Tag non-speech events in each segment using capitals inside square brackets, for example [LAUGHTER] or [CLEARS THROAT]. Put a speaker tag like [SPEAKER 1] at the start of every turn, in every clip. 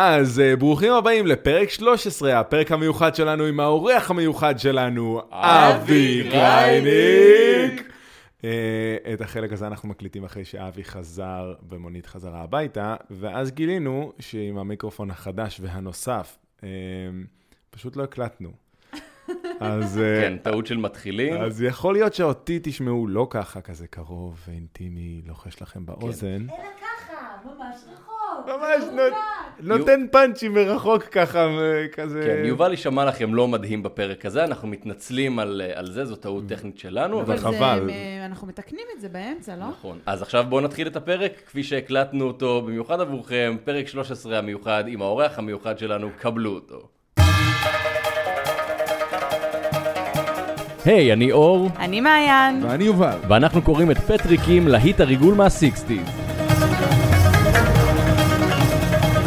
[SPEAKER 1] אז אה, ברוכים הבאים לפרק 13, הפרק המיוחד שלנו עם האורח המיוחד שלנו, אבי קלייניק. אה, את החלק הזה אנחנו מקליטים אחרי שאבי חזר במונית חזרה הביתה, ואז גילינו שעם המיקרופון החדש והנוסף, אה, פשוט לא הקלטנו. אז, אה,
[SPEAKER 2] כן, טעות של מתחילים.
[SPEAKER 1] אז יכול להיות שאותי תשמעו לא ככה, כזה קרוב ואינטימי, לוחש לכם באוזן.
[SPEAKER 3] כן. אלא ככה, ממש רחוק.
[SPEAKER 1] ממש,
[SPEAKER 3] זה
[SPEAKER 1] נו-
[SPEAKER 3] מובן.
[SPEAKER 1] נותן פאנצ'ים מרחוק ככה, ו- כזה...
[SPEAKER 2] כן, יובל יישמע לכם לא מדהים בפרק הזה, אנחנו מתנצלים על, אה, על זה, זו טעות טכנית שלנו.
[SPEAKER 1] אה, אבל
[SPEAKER 4] אבל
[SPEAKER 1] חבל.
[SPEAKER 4] חבל. אנחנו מתקנים את זה באמצע, לא?
[SPEAKER 2] נכון. אז עכשיו בואו נתחיל את הפרק, כפי שהקלטנו אותו במיוחד עבורכם, פרק 13 המיוחד עם האורח המיוחד שלנו, קבלו אותו. היי, אני אור,
[SPEAKER 4] אני מעיין.
[SPEAKER 1] ואני יובל.
[SPEAKER 2] ואנחנו קוראים את פטריקים להיט הריגול מהסיקסטיז.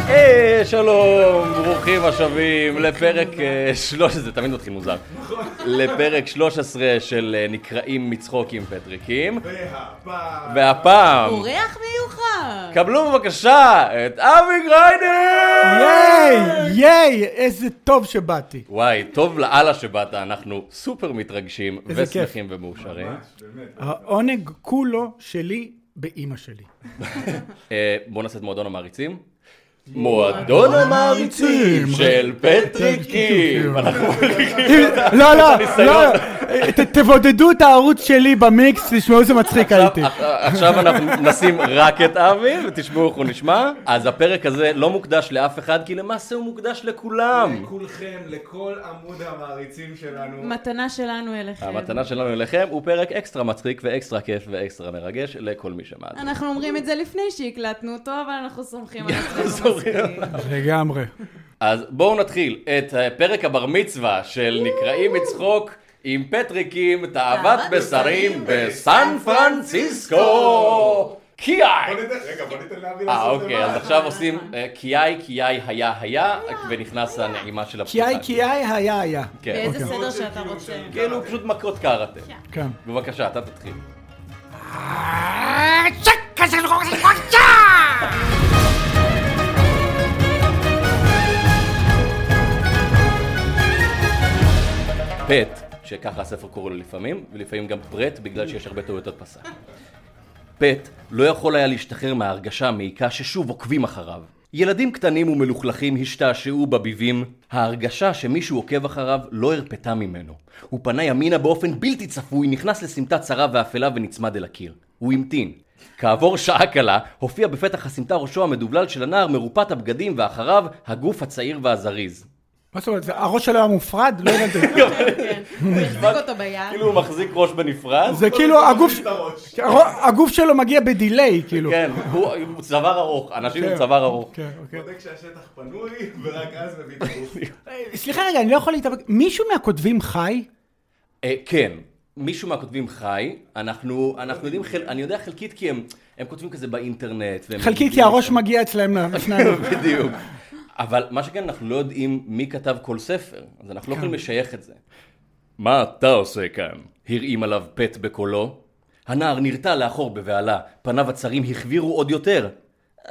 [SPEAKER 2] היי, אה, שלום, ברוכים השבים לפרק אה, 13, זה תמיד מתחיל מוזר, לפרק 13 של אה, נקראים מצחוק עם פטריקים, והפעם,
[SPEAKER 4] אורח מיוחד.
[SPEAKER 2] קבלו בבקשה את אבי גריינר!
[SPEAKER 5] ייי, ייי, איזה טוב שבאתי.
[SPEAKER 2] וואי, טוב לאללה שבאת, אנחנו סופר מתרגשים
[SPEAKER 5] איזה כיף.
[SPEAKER 2] ושמחים ומאושרים.
[SPEAKER 5] העונג כולו שלי באימא שלי.
[SPEAKER 2] אה, בואו נעשה את מועדון המעריצים. מועדון המעריצים של [LAUGHS] פטריקים. אנחנו
[SPEAKER 5] לא, לא, לא, ת- תבודדו את הערוץ שלי במיקס, תשמעו איזה מצחיק הייתי.
[SPEAKER 2] עכשיו אנחנו נשים רק את אבי, ותשמעו איך הוא נשמע. אז הפרק הזה לא מוקדש לאף אחד, כי למעשה הוא מוקדש לכולם.
[SPEAKER 1] לכולכם, לכל עמוד המעריצים שלנו.
[SPEAKER 4] מתנה שלנו אליכם.
[SPEAKER 2] המתנה שלנו אליכם הוא פרק אקסטרה מצחיק ואקסטרה כיף ואקסטרה מרגש לכל מי שמאזין.
[SPEAKER 4] אנחנו אומרים את זה לפני שהקלטנו אותו, אבל
[SPEAKER 2] [LAUGHS]
[SPEAKER 4] אנחנו סומכים על עצמנו
[SPEAKER 2] סומכים
[SPEAKER 4] מספיק.
[SPEAKER 5] לגמרי.
[SPEAKER 2] אז בואו נתחיל את אה, פרק הבר מצווה של נקראים מצחוק עם פטריקים, תאוות
[SPEAKER 4] תאוות
[SPEAKER 2] בשרים
[SPEAKER 4] בשרים
[SPEAKER 2] בסן פרנסיסקו. קיאי!
[SPEAKER 1] רגע, בוא ניתן לאבי
[SPEAKER 2] אה,
[SPEAKER 1] לעשות
[SPEAKER 2] אוקיי, אז עכשיו עושים אה, קיאי, קיאי, היה, היה, ונכנס הנעימה של הפתיחה.
[SPEAKER 5] קיאי קיאי היה היה.
[SPEAKER 2] כן.
[SPEAKER 4] באיזה סדר שאתה רוצה.
[SPEAKER 2] כאילו פשוט מכות קראטה.
[SPEAKER 5] כן.
[SPEAKER 2] בבקשה, אתה תתחיל. פט, שככה הספר קורא לו לפעמים, ולפעמים גם פרט, בגלל שיש הרבה טעויות הדפסה. פט לא יכול היה להשתחרר מההרגשה המעיקה ששוב עוקבים אחריו. ילדים קטנים ומלוכלכים השתעשעו בביבים, ההרגשה שמישהו עוקב אחריו לא הרפתה ממנו. הוא פנה ימינה באופן בלתי צפוי, נכנס לסמטה צרה ואפלה ונצמד אל הקיר. הוא המתין. כעבור שעה קלה, הופיע בפתח הסמטה ראשו המדובלל של הנער מרופט הבגדים ואחריו הגוף הצעיר והזריז.
[SPEAKER 5] מה זאת אומרת, זה- הראש שלו היה מופרד? לא הבנתי.
[SPEAKER 4] כן. הוא יחזיק אותו ביד.
[SPEAKER 2] כאילו הוא מחזיק ראש בנפרד.
[SPEAKER 5] זה כאילו הגוף... הרו- הגוף שלו מגיע בדיליי, כאילו.
[SPEAKER 2] כן, הוא הוא צוואר ארוך, אנשים עם
[SPEAKER 5] כן.
[SPEAKER 2] צוואר ארוך.
[SPEAKER 5] כן, אוקיי.
[SPEAKER 1] בודק שהשטח פנוי, ורק אז מביא את הגוף.
[SPEAKER 5] סליחה רגע, אני לא יכול להתאבק... מישהו מהכותבים חי?
[SPEAKER 2] אה, כן, מישהו מהכותבים חי, אנחנו, אנחנו יודעים, חל, אני יודע חלקית כי הם, הם כותבים כזה באינטרנט. והם
[SPEAKER 5] חלקית כי
[SPEAKER 2] מגיעים
[SPEAKER 5] הראש
[SPEAKER 2] לשם.
[SPEAKER 5] מגיע אצלהם לשניים.
[SPEAKER 2] [LAUGHS] בדיוק. אבל מה שכן, אנחנו לא יודעים מי כתב כל ספר, אז אנחנו
[SPEAKER 5] כן.
[SPEAKER 2] לא יכולים לשייך את זה. מה אתה עושה כאן? הרעים עליו פט בקולו. הנער נרתע לאחור בבהלה, פניו הצרים החבירו עוד יותר. "אה,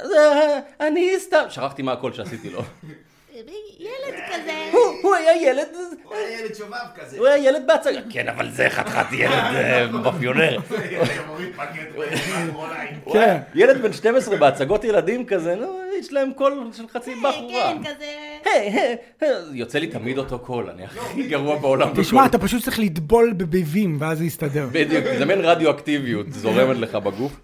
[SPEAKER 2] אני סתם... שכחתי מה הקול שעשיתי לו.
[SPEAKER 3] ילד
[SPEAKER 2] [LAUGHS]
[SPEAKER 3] כזה.
[SPEAKER 2] "הוא- הוא היה ילד
[SPEAKER 1] הוא היה ילד שובב כזה.
[SPEAKER 2] הוא היה ילד בהצגה. כן, אבל זה חתיכת ילד אה, מאפיונר.
[SPEAKER 1] ילד שמוריד כן, פקט מאחוריים.
[SPEAKER 5] כן.
[SPEAKER 2] ילד בן 12 בהצגות ילדים כזה, נו, יש להם קול של חצי בחורה.
[SPEAKER 3] כן, כזה.
[SPEAKER 2] היי, היי, היי, יוצא לי תמיד אותו קול, אני הכי גרוע בעולם.
[SPEAKER 5] תשמע,
[SPEAKER 2] בקול.
[SPEAKER 5] אתה פשוט צריך לטבול בביבים, ואז זה יסתדר.
[SPEAKER 2] בדיוק, זה מעין רדיואקטיביות זורמת לך בגוף.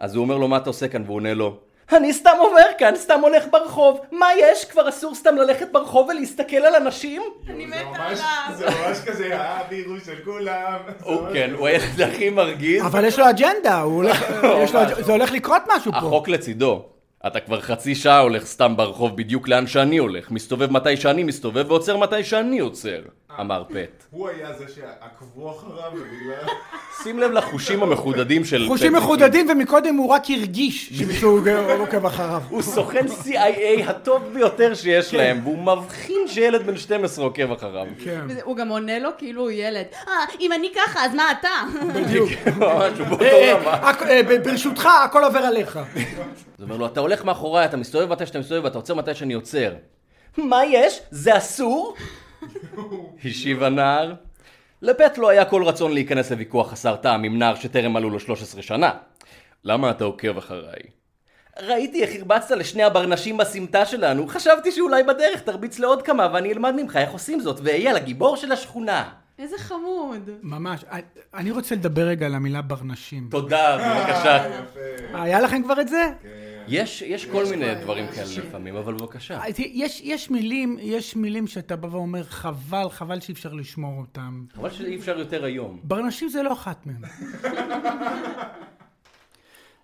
[SPEAKER 2] אז הוא אומר לו, מה אתה עושה כאן? והוא עונה לו, אני סתם עובר כאן, סתם הולך ברחוב. מה יש? כבר אסור סתם ללכת ברחוב ולהסתכל על אנשים?
[SPEAKER 4] אני מתה עליו.
[SPEAKER 1] זה ממש כזה הווירוס של כולם.
[SPEAKER 2] הוא כן, הוא הילד הכי מרגיז.
[SPEAKER 5] אבל יש לו אג'נדה, הוא הולך- יש לו אג'- זה הולך לקרות משהו פה.
[SPEAKER 2] החוק לצידו. אתה כבר חצי שעה הולך סתם ברחוב בדיוק לאן שאני הולך, מסתובב מתי שאני מסתובב ועוצר מתי שאני עוצר. אמר פט.
[SPEAKER 1] הוא היה זה שעקבו אחריו ובגלל...
[SPEAKER 2] שים לב לחושים המחודדים של...
[SPEAKER 5] חושים
[SPEAKER 2] פט.
[SPEAKER 5] מחודדים ומקודם הוא רק הרגיש שמישהו עוקב אחריו.
[SPEAKER 2] הוא סוכן CIA הטוב ביותר שיש להם, והוא מבחין שילד בן 12 עוקב אחריו.
[SPEAKER 5] כן.
[SPEAKER 4] וזה- הוא גם עונה לו כאילו הוא ילד. אה, אם אני ככה, אז מה אתה? [LAUGHS]
[SPEAKER 5] בדיוק.
[SPEAKER 2] כן, ממש, הוא באותו
[SPEAKER 5] אה,
[SPEAKER 2] רמה.
[SPEAKER 5] אה, הכ- אה, ב- ברשותך, הכל עובר עליך.
[SPEAKER 2] זה אומר לו, אתה הולך מאחוריי, אתה מסתובב מתי שאתה מסתובב, ואתה עוצר מתי שאני עוצר. מה יש? זה [LAUGHS] אסור? השיב הנער. לפט לא היה כל רצון להיכנס לוויכוח חסר טעם עם נער שטרם מלאו לו 13 שנה. למה אתה עוקב אחריי? ראיתי איך הרבצת לשני הברנשים בסמטה שלנו, חשבתי שאולי בדרך תרביץ לעוד כמה ואני אלמד ממך איך עושים זאת, ואהיה לגיבור של השכונה.
[SPEAKER 4] איזה חמוד.
[SPEAKER 5] ממש. אני- אני רוצה לדבר רגע על המילה ברנשים.
[SPEAKER 2] תודה, בבקשה.
[SPEAKER 5] היה לכם כבר את זה?
[SPEAKER 2] יש, יש כל מיני דברים כאלה לפעמים, אבל בבקשה.
[SPEAKER 5] אז אה, יש, יש מילים, יש מילים שאתה בא ואומר, חבל, חבל שאי אפשר לשמור אותם.
[SPEAKER 2] חבל שאי אפשר יותר היום.
[SPEAKER 5] ברנשים זה לא אחת [LAUGHS] מהם.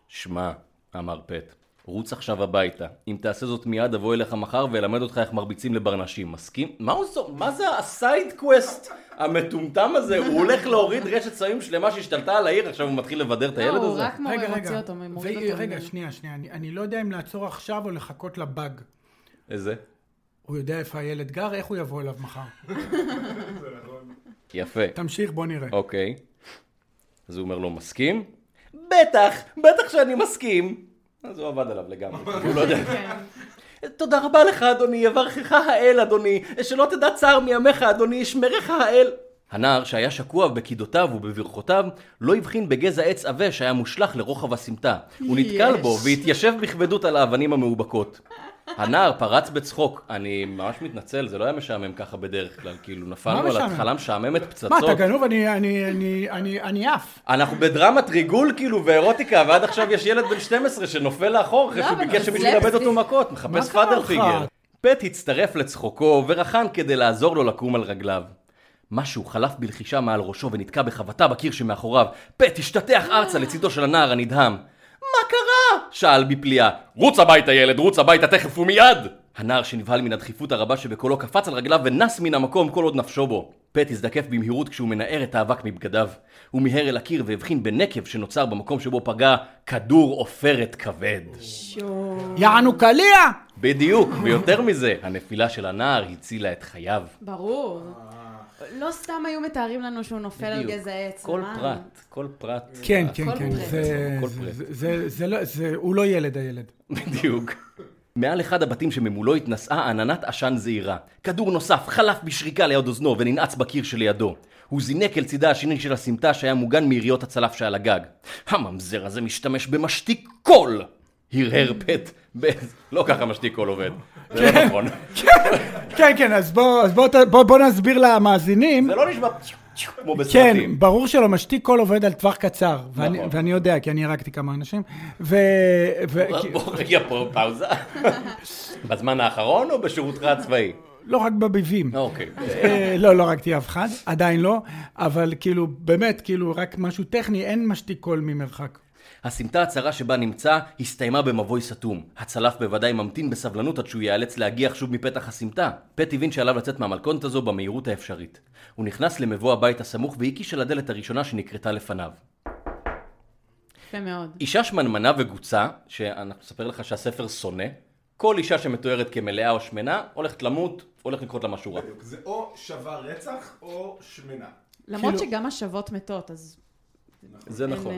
[SPEAKER 2] שמע, אמר פט, רוץ עכשיו הביתה. אם תעשה זאת מיד, אבוא אליך מחר ואלמד אותך איך מרביצים לברנשים. מסכים? מה הוא זו? מה זה הסייד קווסט המטומטם הזה? הוא הולך להוריד רשת סמים שלמה שהשתלטה על העיר, עכשיו הוא מתחיל לבדר את
[SPEAKER 4] לא,
[SPEAKER 2] הילד
[SPEAKER 4] הוא
[SPEAKER 2] הזה?
[SPEAKER 4] רק מורה מוציא אותו, מוריד
[SPEAKER 5] ו-
[SPEAKER 4] אותו.
[SPEAKER 5] רגע,
[SPEAKER 4] ממנו.
[SPEAKER 5] שנייה, שנייה. אני, אני לא יודע אם לעצור עכשיו או לחכות לבאג.
[SPEAKER 2] איזה?
[SPEAKER 5] הוא יודע איפה הילד גר, איך הוא יבוא אליו מחר.
[SPEAKER 2] יפה.
[SPEAKER 5] תמשיך, בוא נראה.
[SPEAKER 2] אוקיי. אז הוא אומר לו, מסכים? בטח, בטח שאני מסכים. אז הוא עבד עליו
[SPEAKER 5] [LAUGHS]
[SPEAKER 2] לגמרי, הוא לא יודע.
[SPEAKER 5] כן.
[SPEAKER 2] תודה רבה לך, אדוני, יברכך האל, אדוני. שלא תדע צער מימיך, אדוני, ישמרך האל. הנער, שהיה שקוע בקידותיו ובברכותיו, לא הבחין בגזע עץ עבה שהיה מושלך לרוחב הסמטה. הוא נתקל
[SPEAKER 4] יש.
[SPEAKER 2] בו והתיישב בכבדות על האבנים המאובקות. הנער פרץ בצחוק. אני ממש מתנצל, זה לא היה משעמם ככה בדרך כלל. כאילו, נפלנו על
[SPEAKER 5] משעמם?
[SPEAKER 2] התחלה משעממת פצצות.
[SPEAKER 5] מה, אתה גנוב? אני, אני, אני, אני, אני עף.
[SPEAKER 2] אנחנו בדרמת ריגול כאילו ואירוטיקה, ועד עכשיו יש ילד בן 12 שנופל לאחור אחרי
[SPEAKER 4] לא,
[SPEAKER 2] שהוא
[SPEAKER 4] אבל
[SPEAKER 2] ביקש
[SPEAKER 4] זה
[SPEAKER 2] שמישהו
[SPEAKER 4] סלפסטיק.
[SPEAKER 2] ילמד אותו כאילו מכות, מחפש
[SPEAKER 5] קרה
[SPEAKER 2] פאדר
[SPEAKER 5] לך?
[SPEAKER 2] פיגר. פט הצטרף לצחוקו ורחן כדי לעזור לו לקום על רגליו. משהו חלף בלחישה מעל ראשו ונתקע בחבטה בקיר שמאחוריו. פט השתטח ארצה לצידו של הנער הנדהם. מה קרה? שאל בפליאה. רוץ הביתה ילד, רוץ הביתה תכף ומיד! הנער שנבהל מן הדחיפות הרבה שבקולו קפץ על רגליו ונס מן המקום כל עוד נפשו בו. פט הזדקף במהירות כשהוא מנער את האבק מבגדיו. הוא מיהר אל הקיר והבחין בנקב שנוצר במקום שבו פגע כדור עופרת כבד.
[SPEAKER 4] שו.
[SPEAKER 5] יענו קליע!
[SPEAKER 2] בדיוק, ויותר מזה, הנפילה של הנער הצילה את חייו.
[SPEAKER 4] ברור. לא סתם היו מתארים לנו שהוא נופל על
[SPEAKER 2] אה. בדיוק.
[SPEAKER 4] גזע עץ.
[SPEAKER 2] כל
[SPEAKER 4] מה?
[SPEAKER 2] פרט, כל פרט.
[SPEAKER 5] כן, כן,
[SPEAKER 4] כל
[SPEAKER 5] כן.
[SPEAKER 4] פרט.
[SPEAKER 5] זה,
[SPEAKER 2] כל
[SPEAKER 5] זה,
[SPEAKER 2] פרט.
[SPEAKER 5] זה, זה, זה, לא, זה, הוא לא ילד, הילד.
[SPEAKER 2] בדיוק. מעל אחד הבתים שממולו התנשאה עננת עשן זעירה. כדור נוסף חלף בשריקה ליד אוזנו וננעץ בקיר שלידו. הוא זינק אל צידה השני של הסמטה שהיה מוגן מיריות הצלף שעל הגג. הממזר הזה משתמש במשתיק קול! הרהר פט. באיזה- לא ככה משתיק קול עובד. זה לא נכון.
[SPEAKER 5] כן, כן, אז בוא, אז בוא, ת- בוא, בוא נסביר למאזינים.
[SPEAKER 2] זה לא נשמע כמו
[SPEAKER 5] כן,
[SPEAKER 2] בסרטים.
[SPEAKER 5] ברור שלא, משתיק קול עובד על טווח קצר, ואני,
[SPEAKER 2] נכון.
[SPEAKER 5] ואני יודע, כי אני הרגתי כמה אנשים, ו... ו... כי-
[SPEAKER 2] בוא רגע פה [LAUGHS] פאוזה. בזמן האחרון או בשירותך הצבאי?
[SPEAKER 5] לא רק בביבים.
[SPEAKER 2] אוקיי.
[SPEAKER 5] אה, לא, לא הרגתי אף אחד, עדיין לא, אבל כאילו, באמת, כאילו, רק משהו טכני, אין משתיק קול ממרחק.
[SPEAKER 2] הסמטה הצרה שבה נמצא הסתיימה במבוי סתום. הצלף בוודאי ממתין בסבלנות עד שהוא ייאלץ להגיח שוב מפתח הסמטה. פט הבין שעליו לצאת מהמלכודת הזו במהירות האפשרית. הוא נכנס למבוא הבית הסמוך והקיש על הדלת הראשונה שנקרתה לפניו.
[SPEAKER 4] יפה מאוד.
[SPEAKER 2] אישה שמנמנה וגוצה, שאני אספר לך שהספר שונא, כל אישה שמתוארת כמלאה או שמנה, הולכת למות, הולך לקרות לה משהו רע.
[SPEAKER 1] זה או שווה רצח או שמנה.
[SPEAKER 4] למרות
[SPEAKER 5] כאילו-
[SPEAKER 4] שגם השוות מתות, אז...
[SPEAKER 2] זה
[SPEAKER 4] אה,
[SPEAKER 2] נכון.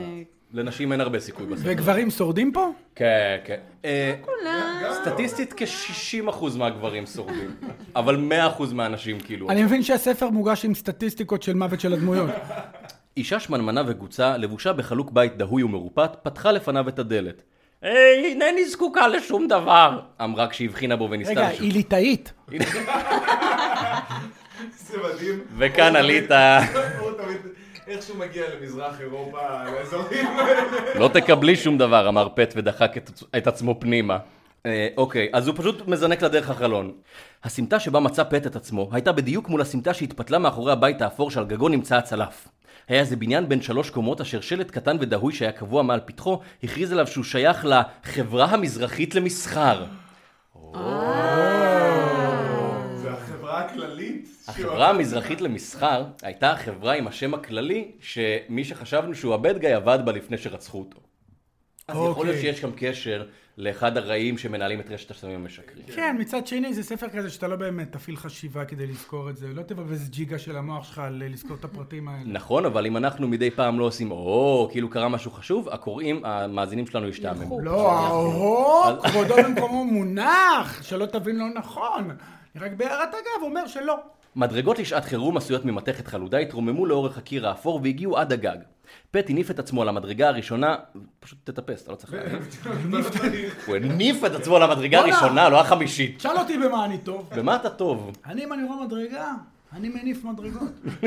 [SPEAKER 2] לנשים אין הרבה סיכוי בספר.
[SPEAKER 5] וגברים שורדים פה?
[SPEAKER 2] כן, כן. אה,
[SPEAKER 4] אולי...
[SPEAKER 2] סטטיסטית כ-60% מהגברים שורדים, אבל 100% מהנשים כאילו.
[SPEAKER 5] אני מבין שהספר מוגש עם סטטיסטיקות של מוות של [LAUGHS] הדמויות.
[SPEAKER 2] אישה שמנמנה וגוצה, לבושה בחלוק בית דהוי ומרופט, פתחה לפניו את הדלת. אה, "היי, אינני זקוקה לשום דבר! אמרה כשהבחינה בו וניסתה
[SPEAKER 5] רגע,
[SPEAKER 2] לשוב.
[SPEAKER 5] היא ליטאית.
[SPEAKER 1] זה מדהים.
[SPEAKER 2] וכאן
[SPEAKER 1] הוא
[SPEAKER 2] עלית.
[SPEAKER 1] תמיד- הוא תמיד, איך שהוא מגיע למזרח אירופה, לאזורים האלה.
[SPEAKER 2] לא תקבלי שום דבר, אמר פט ודחק את, את עצמו פנימה. אה, אוקיי, אז הוא פשוט מזנק לדרך החלון. הסמטה שבה מצא פט את עצמו הייתה בדיוק מול הסמטה שהתפתלה מאחורי הבית האפור שעל גגו נמצא הצלף. היה זה בניין בין שלוש קומות אשר שלט קטן ודהוי שהיה קבוע מעל פתחו הכריז עליו שהוא שייך לחברה המזרחית למסחר.
[SPEAKER 1] זה החברה הכללית.
[SPEAKER 2] החברה המזרחית למסחר הייתה החברה עם השם הכללי שמי שחשבנו שהוא הבד גיא עבד בה לפני שרצחו אותו. אז יכול להיות
[SPEAKER 5] אוקיי.
[SPEAKER 2] שיש גם קשר לאחד הרעים שמנהלים את רשת הסמים המשקרים.
[SPEAKER 5] כן, מצד שני זה ספר כזה שאתה לא באמת תפעיל חשיבה כדי לזכור את זה, לא תבזבז ג'יגה של המוח שלך על אה, לזכור את הפרטים [LAUGHS] האלה.
[SPEAKER 2] נכון, אבל אם אנחנו מדי פעם לא עושים, או, כאילו קרה משהו חשוב, הקוראים, המאזינים שלנו ישתעממו.
[SPEAKER 5] לא, אהו, כבודו במקומו מונח, שלא תבין לא נכון. רק בהערת אגב אומר שלא.
[SPEAKER 2] מדרגות לשעת חירום עשויות ממתכת חלודה התרוממו לאורך הקיר האפור והגיעו עד הגג. פט הניף את עצמו על המדרגה הראשונה, פשוט תטפס, אתה לא צריך
[SPEAKER 5] [LAUGHS]
[SPEAKER 2] להניף. הוא הניף את עצמו על המדרגה
[SPEAKER 5] בואנה.
[SPEAKER 2] הראשונה, לא החמישית.
[SPEAKER 5] שאל אותי במה אני טוב.
[SPEAKER 2] במה אתה טוב?
[SPEAKER 5] אני, אם אני רואה מדרגה, אני מניף מדרגות. [LAUGHS]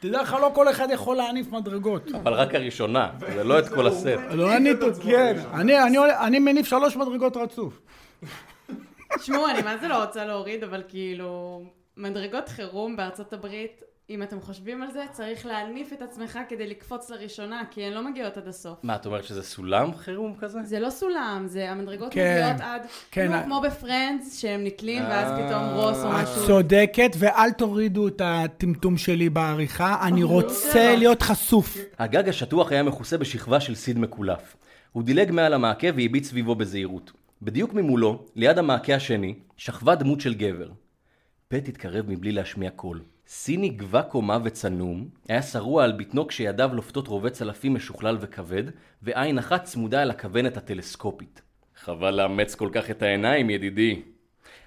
[SPEAKER 5] תדע לך, לא כל אחד יכול להניף מדרגות.
[SPEAKER 2] אבל רק הראשונה, זה לא את כל הסט.
[SPEAKER 5] לא אני, כן. אני- אני עולה- אני מניף שלוש מדרגות רצוף.
[SPEAKER 4] תשמעו, אני מה זה לא רוצה להוריד, אבל כאילו, מדרגות חירום בארצות הברית, אם אתם חושבים על זה, צריך להניף את עצמך כדי לקפוץ לראשונה, כי הן לא מגיעות עד הסוף.
[SPEAKER 2] מה, את אומרת שזה סולם חירום כזה?
[SPEAKER 4] זה לא סולם, זה המדרגות
[SPEAKER 5] כן,
[SPEAKER 4] מגיעות עד,
[SPEAKER 5] כן,
[SPEAKER 4] נו,
[SPEAKER 5] ה-
[SPEAKER 4] כמו בפרנדס, שהם נתלים,
[SPEAKER 2] אה.
[SPEAKER 4] ואז פתאום רוס או
[SPEAKER 5] את
[SPEAKER 4] משהו.
[SPEAKER 5] צודקת, ואל תורידו את הטמטום שלי בעריכה, אני רוצה להיות חשוף.
[SPEAKER 2] הגג השטוח היה מכוסה בשכבה של סיד מקולף. הוא דילג מעל המעקה והביט סביבו בזהירות. בדיוק ממולו, ליד המעקה השני, שכבה דמות של גבר. פט התקרב מבלי להשמיע קול. סיני גבה קומה וצנום, היה שרוע על בטנו כשידיו לופתות רובה צלפים משוכלל וכבד, ועין אחת צמודה אל הכוונת הטלסקופית. חבל לאמץ כל כך את העיניים, ידידי.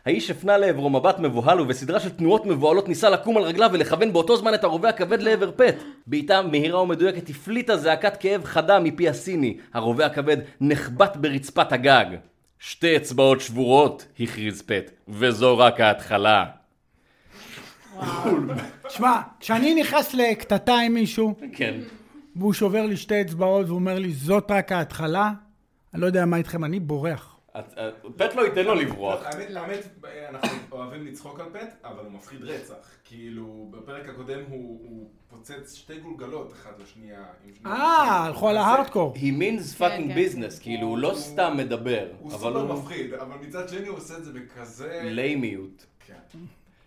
[SPEAKER 2] האיש הפנה לעברו מבט מבוהל ובסדרה של תנועות מבוהלות ניסה לקום על רגליו ולכוון באותו זמן את הרובה הכבד לעבר פט. בעיטה מהירה ומדויקת הפליטה זעקת כאב חדה מפי הסיני. הרובה הכבד נחבט ברצפת הגג. שתי אצבעות שבורות, הכריז פט, וזו רק ההתחלה.
[SPEAKER 5] שמע, כשאני נכנס לקטטה עם מישהו,
[SPEAKER 2] כן.
[SPEAKER 5] והוא שובר לי שתי אצבעות ואומר לי, זאת רק ההתחלה, אני לא יודע מה איתכם, אני בורח.
[SPEAKER 2] פט לא ייתן לו לברוח.
[SPEAKER 1] האמת, האמת, אנחנו אוהבים לצחוק על פט, אבל הוא מפחיד רצח. כאילו, בפרק הקודם הוא הוא פוצץ שתי גולגלות אחת לשנייה. עם שני
[SPEAKER 5] אה,
[SPEAKER 1] אנשים.
[SPEAKER 5] הלכו על ההארדקור.
[SPEAKER 2] He means
[SPEAKER 4] כן,
[SPEAKER 2] fucking
[SPEAKER 4] כן.
[SPEAKER 2] business, כאילו הוא לא סתם מדבר,
[SPEAKER 1] הוא
[SPEAKER 2] אבל
[SPEAKER 1] סופר
[SPEAKER 2] הוא
[SPEAKER 1] מפחיד, אבל מצד שני הוא עושה את זה בכזה...
[SPEAKER 2] ליימיות.
[SPEAKER 1] כן.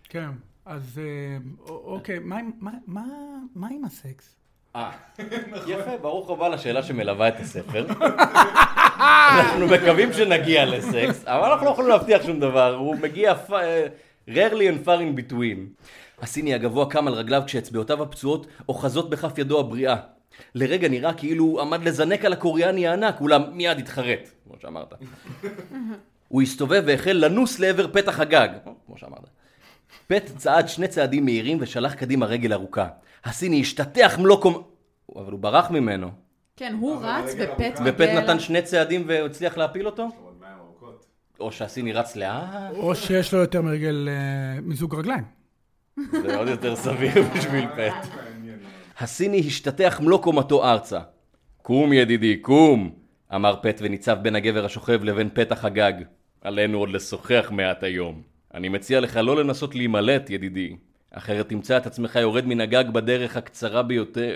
[SPEAKER 5] כן, אז אה, א- אוקיי, מה עם- מה- מה- מה עם הסקס?
[SPEAKER 2] אה, יפה, ברוך הבא לשאלה שמלווה את הספר. אנחנו מקווים שנגיע לסקס, אבל אנחנו לא יכולים להבטיח שום דבר, הוא מגיע פ- אה, rarely and far in between. הסיני הגבוה קם על רגליו כשאצבעותיו הפצועות אוחזות בכף ידו הבריאה. לרגע נראה כאילו הוא עמד לזנק על הקוריאני הענק, אולם מיד התחרט, כמו שאמרת. הוא הסתובב והחל לנוס לעבר פתח הגג, כמו שאמרת. פט צעד שני צעדים מהירים ושלח קדימה רגל ארוכה. הסיני השתטח מלוא קומ... אבל הוא ברח ממנו.
[SPEAKER 4] כן, הוא
[SPEAKER 1] אבל
[SPEAKER 4] רץ
[SPEAKER 1] רגע,
[SPEAKER 4] ופט
[SPEAKER 1] אבל-
[SPEAKER 2] ופט
[SPEAKER 4] מגיע
[SPEAKER 2] נתן
[SPEAKER 4] אליו.
[SPEAKER 2] שני צעדים והצליח להפיל אותו?
[SPEAKER 1] אבל מה עם ארוכות?
[SPEAKER 2] או שהסיני רץ לאט?
[SPEAKER 5] או שיש לו יותר מרגל, אה, מזוג רגליים.
[SPEAKER 2] זה עוד יותר סביר [LAUGHS] בשביל פט.
[SPEAKER 1] מעניין מאוד.
[SPEAKER 2] הסיני השתטח מלוא קומתו ארצה. קום ידידי, קום! אמר פט וניצב בין הגבר השוכב לבין פתח הגג. עלינו עוד לשוחח מעט היום. אני מציע לך לא לנסות להימלט, ידידי. אחרת תמצא את עצמך יורד מן הגג בדרך הקצרה ביותר.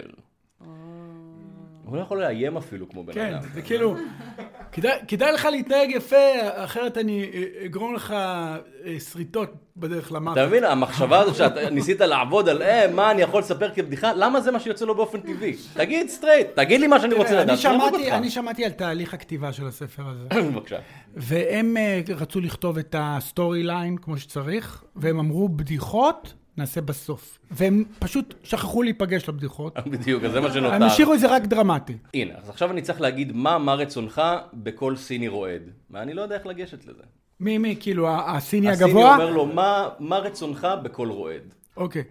[SPEAKER 2] הוא לא יכול לאיים אפילו כמו בן
[SPEAKER 5] כן,
[SPEAKER 2] אדם.
[SPEAKER 5] זה כאילו, כדאי- כדאי לך להתנהג יפה, אחרת אני אה, אגרום לך אה, שריטות בדרך למוות.
[SPEAKER 2] אתה מבין, המחשבה הזו שאתה ניסית לעבוד על אה, מה אני יכול לספר כבדיחה, למה זה מה שיוצא לו באופן טבעי? תגיד סטרייט, תגיד לי מה שאני רוצה
[SPEAKER 5] אני
[SPEAKER 2] לדעת. אני אהרוג
[SPEAKER 5] שמעתי-
[SPEAKER 2] אותך.
[SPEAKER 5] אני שמעתי על תהליך הכתיבה של הספר הזה,
[SPEAKER 2] [CLEARS THROAT] בבקשה.
[SPEAKER 5] והם אה, רצו לכתוב את הסטורי ליין כמו שצריך, והם אמרו בדיחות נעשה בסוף. והם פשוט שכחו להיפגש לבדיחות.
[SPEAKER 2] בדיוק, אז זה מה שנותר.
[SPEAKER 5] הם השאירו את זה רק דרמטי.
[SPEAKER 2] הנה, אז עכשיו אני צריך להגיד מה מה רצונך בקול סיני רועד. ואני לא יודע איך לגשת לזה.
[SPEAKER 5] מי, מי, כאילו, ה- הסיני
[SPEAKER 2] הסיני
[SPEAKER 5] הגבוה?
[SPEAKER 2] אומר לו, "מה- מה רצונך בקול רועד?
[SPEAKER 5] אוקיי.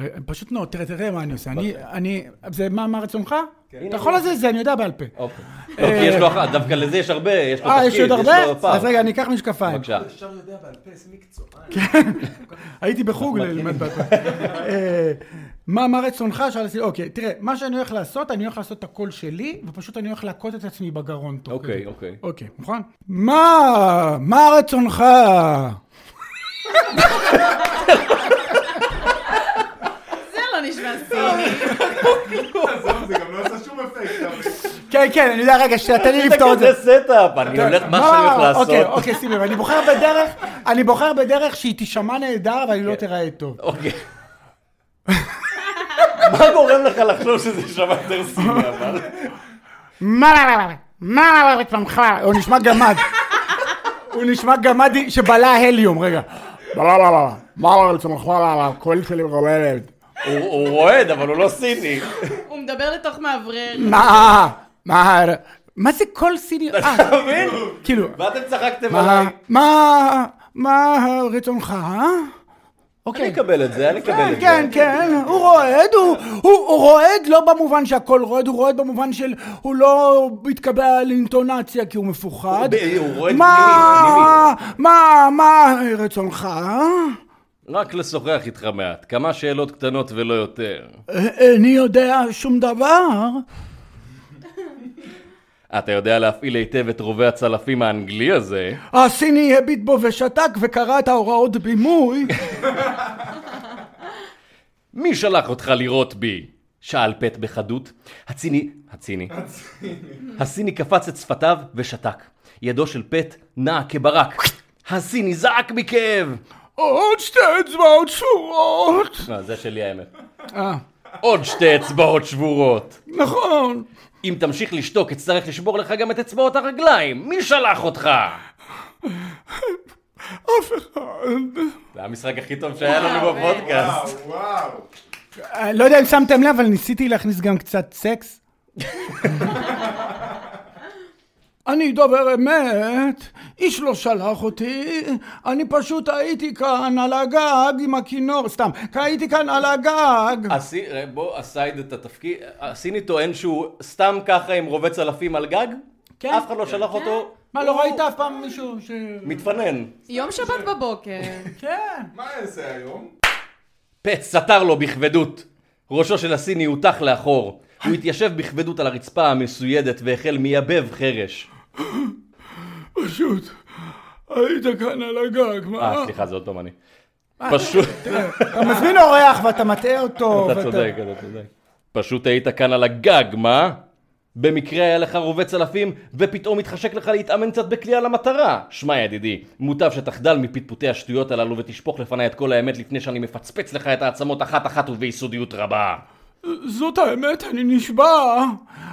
[SPEAKER 5] אה, פשוט לא, תראה, תראה מה אני עושה. אני, אני, זה מה, מה רצונך?
[SPEAKER 2] הנה,
[SPEAKER 5] אתה יכול
[SPEAKER 2] הנה.
[SPEAKER 5] לזה, זה אני יודע בעל פה.
[SPEAKER 2] אוקיי. לא, כי יש לו אחת, דווקא לזה יש הרבה, יש לו
[SPEAKER 5] אה,
[SPEAKER 2] תפקיד,
[SPEAKER 5] יש עוד
[SPEAKER 2] לו
[SPEAKER 5] הרבה?
[SPEAKER 2] פער.
[SPEAKER 5] אז רגע, אני אקח משקפיים.
[SPEAKER 2] בבקשה.
[SPEAKER 1] ישר יודע בעל פה, איזה מקצוע.
[SPEAKER 5] הייתי בחוג ללמד בעל פה. אה, מה, מה רצונך? שאלתי, אוקיי, תראה, מה שאני הולך לעשות, אני הולך לעשות את הקול שלי, ופשוט אני הולך להכות את עצמי בגרון. תוך
[SPEAKER 2] אוקיי,
[SPEAKER 5] כדי.
[SPEAKER 2] אוקיי.
[SPEAKER 5] אוקיי, מוכן? מה, מה רצונך?
[SPEAKER 4] זה לא נשמע סיני.
[SPEAKER 1] [LAUGHS] עזוב, זה גם לא עשה שום אפקט. אבל-
[SPEAKER 5] כן, כן, אני יודע, רגע, שנייה, תן לי לפתור את זה.
[SPEAKER 2] זה סטאפ, אני הולך, מה שאני הולך
[SPEAKER 5] אוקיי,
[SPEAKER 2] לעשות.
[SPEAKER 5] אוקיי, שים לב, אני בוחר בדרך אני בוחר בדרך שהיא תישמע נהדר, אבל היא לא תיראה טוב.
[SPEAKER 2] אוקיי. [LAUGHS] מה גורם לך לחשוב שזה שמע יותר סיני אבל?
[SPEAKER 5] מה מה מה מה שלומך? הוא נשמע גמד. הוא נשמע גמד שבלע הליום, רגע. מה מה מה לצמחו על הקול שלי רועדת.
[SPEAKER 2] הוא- הוא רועד, אבל הוא לא סיני.
[SPEAKER 4] הוא מדבר לתוך מאוורר.
[SPEAKER 5] מה? מה? מה זה קול סיני? אה,
[SPEAKER 2] אתה מבין?
[SPEAKER 5] כאילו,
[SPEAKER 2] ואתם צחקתם
[SPEAKER 5] מה?
[SPEAKER 2] עליי.
[SPEAKER 5] מה? מה רצונך? אה?
[SPEAKER 2] אני
[SPEAKER 5] אוקיי.
[SPEAKER 2] אקבל את זה, אני אקבל
[SPEAKER 5] כן,
[SPEAKER 2] את זה.
[SPEAKER 5] כן, כן, הוא רועד, הוא- הוא הוא רועד לא במובן שהכל רועד, הוא רועד במובן של הוא לא מתקבע לאינטונציה כי הוא מפוחד.
[SPEAKER 2] הוא- הוא רועד
[SPEAKER 5] מה, מה, מה רצונך? אה?
[SPEAKER 2] רק לשוחח איתך מעט, כמה שאלות קטנות ולא יותר.
[SPEAKER 5] אה, איני יודע שום דבר.
[SPEAKER 2] אתה יודע להפעיל היטב את רובה הצלפים האנגלי הזה.
[SPEAKER 5] הסיני הביט בו ושתק וקרא את ההוראות בימוי.
[SPEAKER 2] מי שלח אותך לירות בי? שאל פט בחדות. הציני, הציני. הסיני קפץ את שפתיו ושתק. ידו של פט נעה כברק. הסיני זעק מכאב!
[SPEAKER 5] עוד שתי אצבעות שורות.
[SPEAKER 2] לא, זה שלי האמת.
[SPEAKER 5] אה,
[SPEAKER 2] עוד שתי אצבעות שבורות.
[SPEAKER 5] נכון.
[SPEAKER 2] אם תמשיך לשתוק, אצטרך לשבור לך גם את אצבעות הרגליים. מי שלח אותך?
[SPEAKER 5] אף אחד.
[SPEAKER 2] זה המשחק הכי טוב שהיה לנו בפודקאסט.
[SPEAKER 1] וואו.
[SPEAKER 5] אה, לא יודע אם שמתם לב, אבל ניסיתי להכניס גם קצת סקס. אני דובר אמת, איש לא שלח אותי, אני פשוט הייתי כאן על הגג עם הכינור, סתם, הייתי כאן על הגג.
[SPEAKER 2] הסי- ראה, אה, בוא, הסייד את התפקיד, הסיני טוען שהוא סתם ככה עם רובה צלפים על גג?
[SPEAKER 5] כן.
[SPEAKER 2] אף אחד לא שלח אותו?
[SPEAKER 5] מה, לא ראית אף פעם מישהו ש...
[SPEAKER 2] מתפנן.
[SPEAKER 4] יום שבת בבוקר.
[SPEAKER 5] כן.
[SPEAKER 1] מה אני אעשה היום?
[SPEAKER 2] פט סתר לו בכבדות. ראשו של הסיני הוטח לאחור. הוא התיישב בכבדות על הרצפה המסוידת והחל מייבב חרש.
[SPEAKER 5] פשוט, היית כאן על הגג, מה?
[SPEAKER 2] אה, סליחה, זה עוד פעם אני.
[SPEAKER 5] אה,
[SPEAKER 2] פשוט...
[SPEAKER 5] אתה מזמין אורח ואתה מטעה אותו.
[SPEAKER 2] אתה צודק, אתה צודק. פשוט היית כאן על הגג, מה? במקרה היה לך רובה צלפים, ופתאום התחשק לך להתאמן קצת בכלייה למטרה. שמע ידידי, מוטב שתחדל מפטפוטי השטויות הללו ותשפוך לפניי את כל האמת לפני שאני מפצפץ לך את העצמות אחת-אחת וביסודיות רבה.
[SPEAKER 5] זאת האמת, אני נשבע.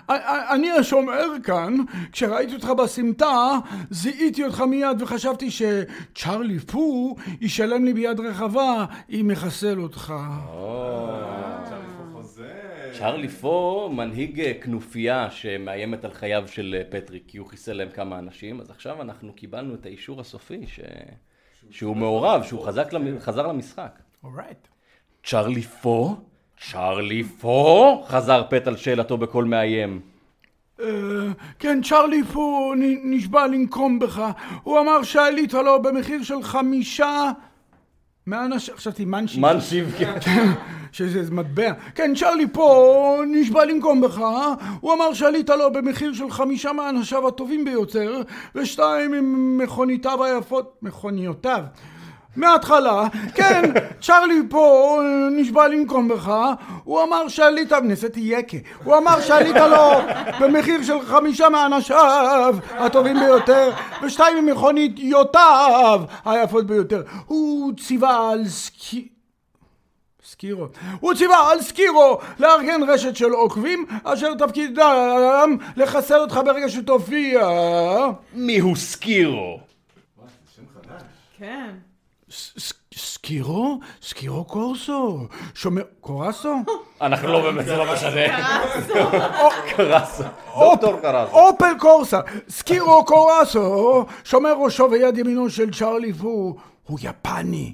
[SPEAKER 5] א- א- אני השומר כאן, כשראיתי אותך בסמטה, זיהיתי אותך מיד וחשבתי שצ'רלי פו ישלם לי ביד רחבה אם יחסל אותך.
[SPEAKER 2] צ'רלי פו מנהיג אה, כנופיה שמאיימת על חייו של אה, פטריק, כי הוא חיסל להם כמה אנשים, אז עכשיו אנחנו קיבלנו את האישור הסופי ש... שהוא מעורב, שהוא חזק למ... חזר למשחק.
[SPEAKER 5] אורייט.
[SPEAKER 2] צ'רלי פו? צ'רלי פו? חזר פט על שאלתו בקול מאיים.
[SPEAKER 5] כן, צ'רלי פו נ- נשבע לנקום בך. הוא אמר שעלית לו במחיר של חמישה... מאנשים, חשבתי מנשי.
[SPEAKER 2] מנשיב, כן.
[SPEAKER 5] שזה מטבע. כן, צ'רלי פה נשבע לנקום בך. אה? הוא אמר שעלית לו במחיר של חמישה מאנשיו הטובים ביותר, ושתיים עם מכוניתיו היפות... מכוניותיו. מההתחלה, כן, צ'רלי פה נשבע לנקום בך, הוא אמר שעלית, ניסיתי יקה, הוא אמר שעלית לו במחיר של חמישה מאנשיו הטובים ביותר, ושתיים עם מכוניותיו היפות ביותר. הוא ציווה על סקי... סקירו. הוא ציווה על סקירו לארגן רשת של עוקבים, אשר תפקידם לחסל אותך ברגע שתופיע.
[SPEAKER 2] מיהו סקירו?
[SPEAKER 4] כן.
[SPEAKER 5] ס- ס- סקירו? סקירו קורסו. שומע... קורסו?
[SPEAKER 2] אנחנו לא באמת, זה לא משנה.
[SPEAKER 4] קרסו.
[SPEAKER 2] קרסה. דוקטור קרסה.
[SPEAKER 5] אופל קורסה. סקירו קורסו. שומר ראשו ויד ימינו של צ'רלי פו. הוא יפני.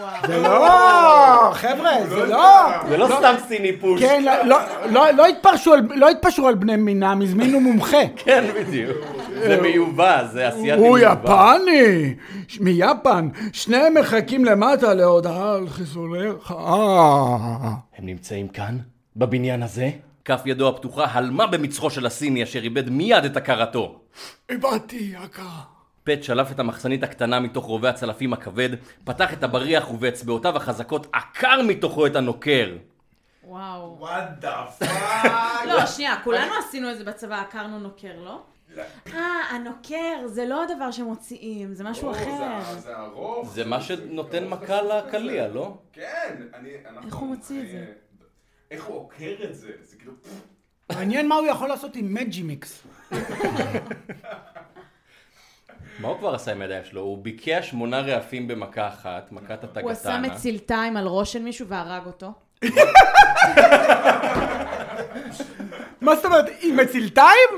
[SPEAKER 4] וואו.
[SPEAKER 5] זה לא, חבר'ה, זה לא.
[SPEAKER 2] זה לא סתם סיני פוש.
[SPEAKER 5] כן, לא- לא- לא- לא התפרשו על- לא התפשרו על בני מינם, הזמינו מומחה.
[SPEAKER 2] כן, בדיוק. זה מיובא, זה אסייתי
[SPEAKER 5] הוא
[SPEAKER 2] מיובא.
[SPEAKER 5] יפני! ש- מיפן! שניהם מחכים למטה להודעה על חיסולך. אה.
[SPEAKER 2] הם נמצאים כאן? בבניין הזה? כף ידו הפתוחה הלמה במצחו של הסיני אשר איבד מיד את הכרתו.
[SPEAKER 5] איבדתי יקר.
[SPEAKER 2] פט שלף את המחסנית הקטנה מתוך רובה הצלפים הכבד, פתח את הבריח ובאצבעותיו החזקות עקר מתוכו את הנוקר.
[SPEAKER 4] וואו.
[SPEAKER 1] וואט דה פאק.
[SPEAKER 4] לא, שנייה, כולנו עשינו את זה בצבא, עקרנו נוקר, לא? אה, הנוקר, זה לא הדבר שמוציאים, זה משהו אחר.
[SPEAKER 1] זה ארוך.
[SPEAKER 2] זה מה שנותן מכה לקליע, לא?
[SPEAKER 1] כן, אני... אנחנו-
[SPEAKER 4] איך הוא מוציא את זה?
[SPEAKER 1] איך הוא עוקר את זה? זה כאילו... פפפ.
[SPEAKER 5] מעניין מה הוא יכול לעשות עם מג'י מיקס.
[SPEAKER 2] מה הוא כבר עשה עם הידיים שלו? הוא ביקע שמונה רעפים במכה אחת, מכת הטגתנה.
[SPEAKER 4] הוא שם מצילתיים על ראש של מישהו והרג אותו.
[SPEAKER 5] מה זאת אומרת, עם
[SPEAKER 2] [LAUGHS]
[SPEAKER 5] מצילתיים?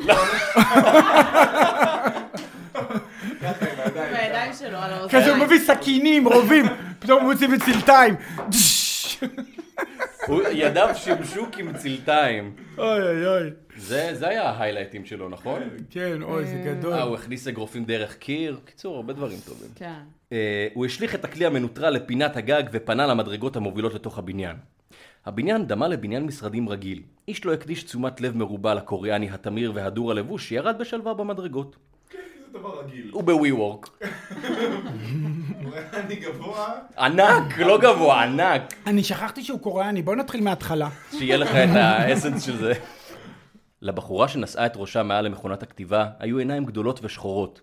[SPEAKER 4] בידיים שלו, על האוזניים.
[SPEAKER 5] כזה הוא מביא סכינים, רובים, פתאום הוא מוציא מצילתיים. דש.
[SPEAKER 2] הוא- ידיו שימשו כמצילתיים.
[SPEAKER 5] אוי אוי אוי.
[SPEAKER 2] זה זה היה ההיילייטים שלו, נכון?
[SPEAKER 5] כן, אוי, זה גדול.
[SPEAKER 2] אה, הוא הכניס אגרופים דרך קיר. קיצור, הרבה דברים טובים.
[SPEAKER 4] כן.
[SPEAKER 2] אה, הוא השליך את הכלי המנוטרל לפינת הגג ופנה למדרגות המובילות לתוך הבניין. הבניין דמה לבניין משרדים רגיל. איש לא הקדיש תשומת לב מרובה לקוריאני התמיר והדור הלבוש שירד בשלווה במדרגות.
[SPEAKER 1] זה דבר רגיל.
[SPEAKER 2] הוא בווי וורק.
[SPEAKER 1] הוא היה אני גבוה.
[SPEAKER 2] ענק, לא גבוה, ענק.
[SPEAKER 5] אני שכחתי שהוא קוריאני, בוא נתחיל מההתחלה.
[SPEAKER 2] שיהיה לך את האסנס של זה. לבחורה שנשאה את ראשה מעל למכונת הכתיבה היו עיניים גדולות ושחורות.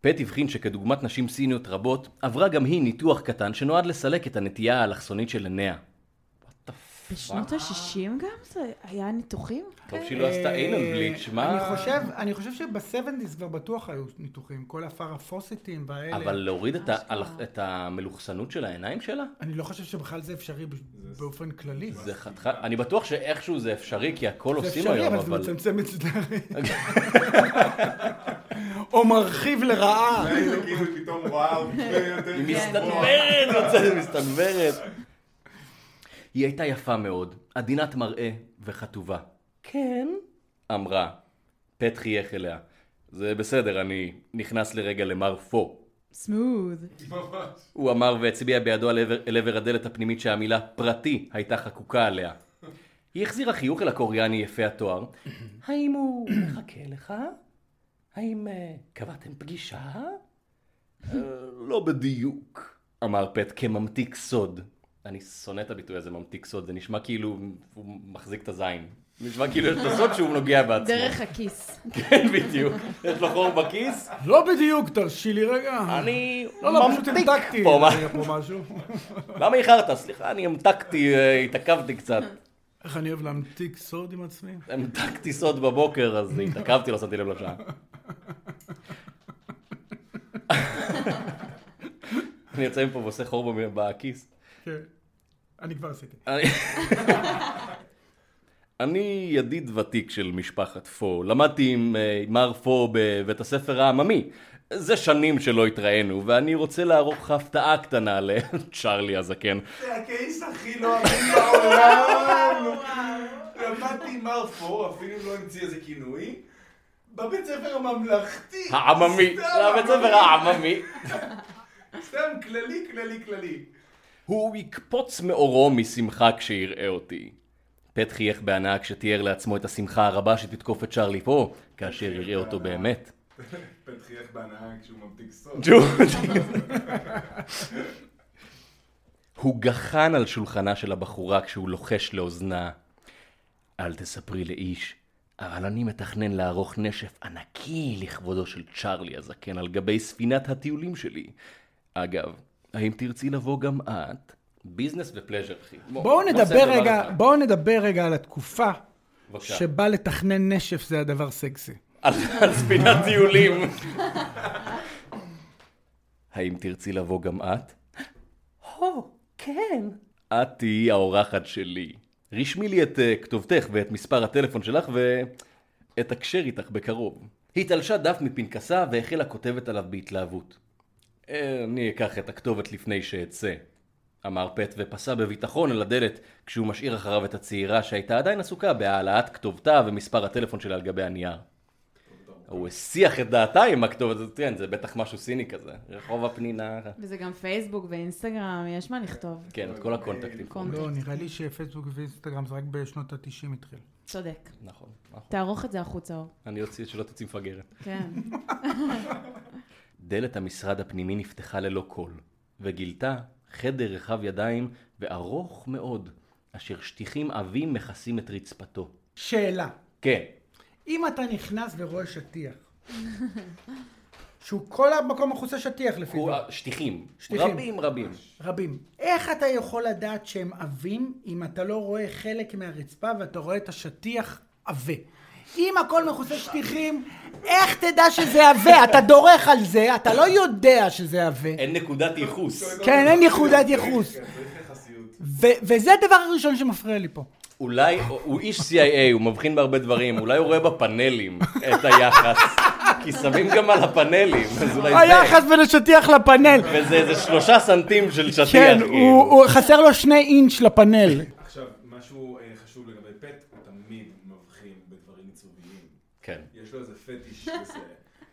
[SPEAKER 2] פט הבחין שכדוגמת נשים סיניות רבות, עברה גם היא ניתוח קטן שנועד לסלק את הנטייה האלכסונית של עיניה.
[SPEAKER 4] בשנות ה-60 גם זה היה ניתוחים?
[SPEAKER 2] טוב שהיא לא עשתה איינל בליץ', מה?
[SPEAKER 5] אה, אני חושב, אני חושב שבסבנדיס כבר בטוח היו ניתוחים, כל הפרפוסיטים והאלה.
[SPEAKER 2] אבל להוריד
[SPEAKER 5] אה,
[SPEAKER 2] את, ה- הלח- את המלוכסנות של העיניים שלה?
[SPEAKER 5] אני לא חושב שבכלל זה אפשרי ב- באופן כללי.
[SPEAKER 2] זה חתיכה... אני בטוח שאיכשהו זה אפשרי, כי הכל
[SPEAKER 5] זה
[SPEAKER 2] עושים
[SPEAKER 5] אפשרי,
[SPEAKER 2] היום,
[SPEAKER 5] אבל זה
[SPEAKER 2] אבל...
[SPEAKER 5] מצמצם את זה. [LAUGHS] או מרחיב לרעה.
[SPEAKER 1] זה כאילו פתאום וואו.
[SPEAKER 2] היא
[SPEAKER 5] כן.
[SPEAKER 2] מסתנוורת, [LAUGHS] יוצאת מסתנוורת. היא הייתה יפה מאוד, עדינת מראה וחטובה. כן? אמרה. פט חייך אליה. זה בסדר, אני נכנס לרגע למר פו.
[SPEAKER 4] סמוד.
[SPEAKER 2] הוא אמר והצביע בידו על עבר, אל עבר הדלת הפנימית שהמילה פרטי הייתה חקוקה עליה. היא החזירה חיוך אל הקוריאני יפה התואר. האם הוא מחכה לך? האם אה, קבעתם פגישה? "אה, לא בדיוק, אמר פט כממתיק סוד. אני שונא את הביטוי הזה, ממתיק סוד, זה נשמע כאילו הוא מחזיק את הזין. נשמע כאילו יש לו סוד שהוא נוגע בעצמו.
[SPEAKER 4] דרך
[SPEAKER 2] [LAUGHS]
[SPEAKER 4] הכיס.
[SPEAKER 2] כן, בדיוק. יש לו חור בכיס,
[SPEAKER 5] לא בדיוק, תרשי לי רגע.
[SPEAKER 2] אני
[SPEAKER 5] לא, לא, פשוט
[SPEAKER 2] ממתיק
[SPEAKER 5] המתקתי.
[SPEAKER 2] פה, מה?
[SPEAKER 5] היה פה משהו. [LAUGHS]
[SPEAKER 2] למה איחרת? סליחה, אני המתקתי, אה, התעכבתי קצת.
[SPEAKER 5] איך אני אוהב להמתיק סוד עם עצמי.
[SPEAKER 2] המתקתי סוד בבוקר, אז התעכבתי, לא שמתי לב לשעה. אני יוצא מפה ועושה חור במ- בכיס.
[SPEAKER 5] כן. אני כבר עשיתי.
[SPEAKER 2] אני- [LAUGHS] אני ידיד ותיק של משפחת פו. למדתי עם אה, מר פו בבית הספר העממי. זה שנים שלא התראינו, ואני רוצה לערוך לך הפתעה קטנה [LAUGHS] לצ'ארלי הזקן.
[SPEAKER 1] זה הקייס הכי לא אמין בעולם. למדתי עם מר פור, אפילו לא המציא איזה כינוי. בבית ספר הממלכתי.
[SPEAKER 2] העממי.
[SPEAKER 1] סתם,
[SPEAKER 2] זה הבית הספר העממי.
[SPEAKER 1] סתם כללי, כללי, כללי.
[SPEAKER 2] הוא יקפוץ מאורו משמחה כשיראה אותי. פט חייך בהנאה כשתיאר לעצמו את השמחה הרבה שתתקוף את צ'ארלי פה, כאשר יראה אותו באמת.
[SPEAKER 1] פט חייך בהנאה כשהוא ממתיק סוד.
[SPEAKER 2] [LAUGHS] הוא גחן על שולחנה של הבחורה כשהוא לוחש לאוזנה. אל תספרי לאיש, אבל אני מתכנן לערוך נשף ענקי לכבודו של צ'ארלי הזקן על גבי ספינת הטיולים שלי. אגב, האם תרצי לבוא גם את? ביזנס ופלז'ר, אחי.
[SPEAKER 5] בואו נדבר רגע, בואו נדבר רגע על התקופה
[SPEAKER 2] בבקשה.
[SPEAKER 5] שבה לתכנן נשף זה הדבר סקסי.
[SPEAKER 2] על על ספינת טיולים. האם תרצי לבוא גם את? הו, כן. את תהיי האורחת שלי. רשמי לי את אה, כתובתך ואת מספר הטלפון שלך ואתקשר איתך בקרוב. היא תלשה דף מפנקסה והחלה כותבת עליו בהתלהבות. "אה, אני אקח את הכתובת לפני שאצא, אמר פט ופסע בביטחון אל הדלת כשהוא משאיר אחריו את הצעירה שהייתה עדיין עסוקה בהעלאת כתובתה ומספר הטלפון שלה על גבי הנייר. הוא הסיח את דעתה עם הכתובת הזאת, כן, זה בטח משהו סיני כזה. רחוב הפנינה,
[SPEAKER 4] וזה גם פייסבוק ואינסטגרם, יש מה לכתוב.
[SPEAKER 2] כן, את כל הקונטקטים.
[SPEAKER 4] קונטקט.
[SPEAKER 5] לא, נראה לי שפייסבוק ואינסטגרם זה רק בשנות ה-90 התחיל.
[SPEAKER 4] צודק.
[SPEAKER 2] נכון.
[SPEAKER 4] תערוך את זה החוצה, אור.
[SPEAKER 2] אני אוציא שלא תצאי מפגרת.
[SPEAKER 4] כן.
[SPEAKER 2] דלת המשרד הפנימי נפתחה ללא קול, וגילתה חדר רחב ידיים וארוך מאוד, אשר שטיחים עבים מכסים את רצפתו.
[SPEAKER 5] שאלה,
[SPEAKER 2] כן.
[SPEAKER 5] אם אתה נכנס ורואה שטיח, שהוא כל המקום מכוסה שטיח לפי
[SPEAKER 2] הוא-
[SPEAKER 5] זה.
[SPEAKER 2] שטיחים.
[SPEAKER 5] שטיחים.
[SPEAKER 2] רבים רבים.
[SPEAKER 5] רבים. איך אתה יכול לדעת שהם עבים אם אתה לא רואה חלק מהרצפה ואתה רואה את השטיח עבה? אם הכל מכוסה שטיחים, איך תדע שזה עבה? אתה דורך על זה, אתה לא יודע שזה עבה.
[SPEAKER 2] אין נקודת ייחוס.
[SPEAKER 5] כן, אין ייחודת ייחוס. ו- וזה הדבר הראשון שמפריע לי פה.
[SPEAKER 2] אולי, הוא איש CIA, הוא מבחין בהרבה דברים, אולי הוא רואה בפאנלים את היחס. כי שמים גם על הפאנלים, אז אולי זה.
[SPEAKER 5] היחס בין השטיח לפאנל.
[SPEAKER 2] וזה איזה שלושה סנטים של שטיח.
[SPEAKER 5] כן,
[SPEAKER 2] כאילו.
[SPEAKER 5] הוא הוא- חסר לו שני אינץ' לפאנל.
[SPEAKER 1] עכשיו, משהו אה, חשוב לגבי פט, הוא תמיד מבחין בדברים עיצוביים.
[SPEAKER 2] כן.
[SPEAKER 1] יש לו איזה פטיש כזה.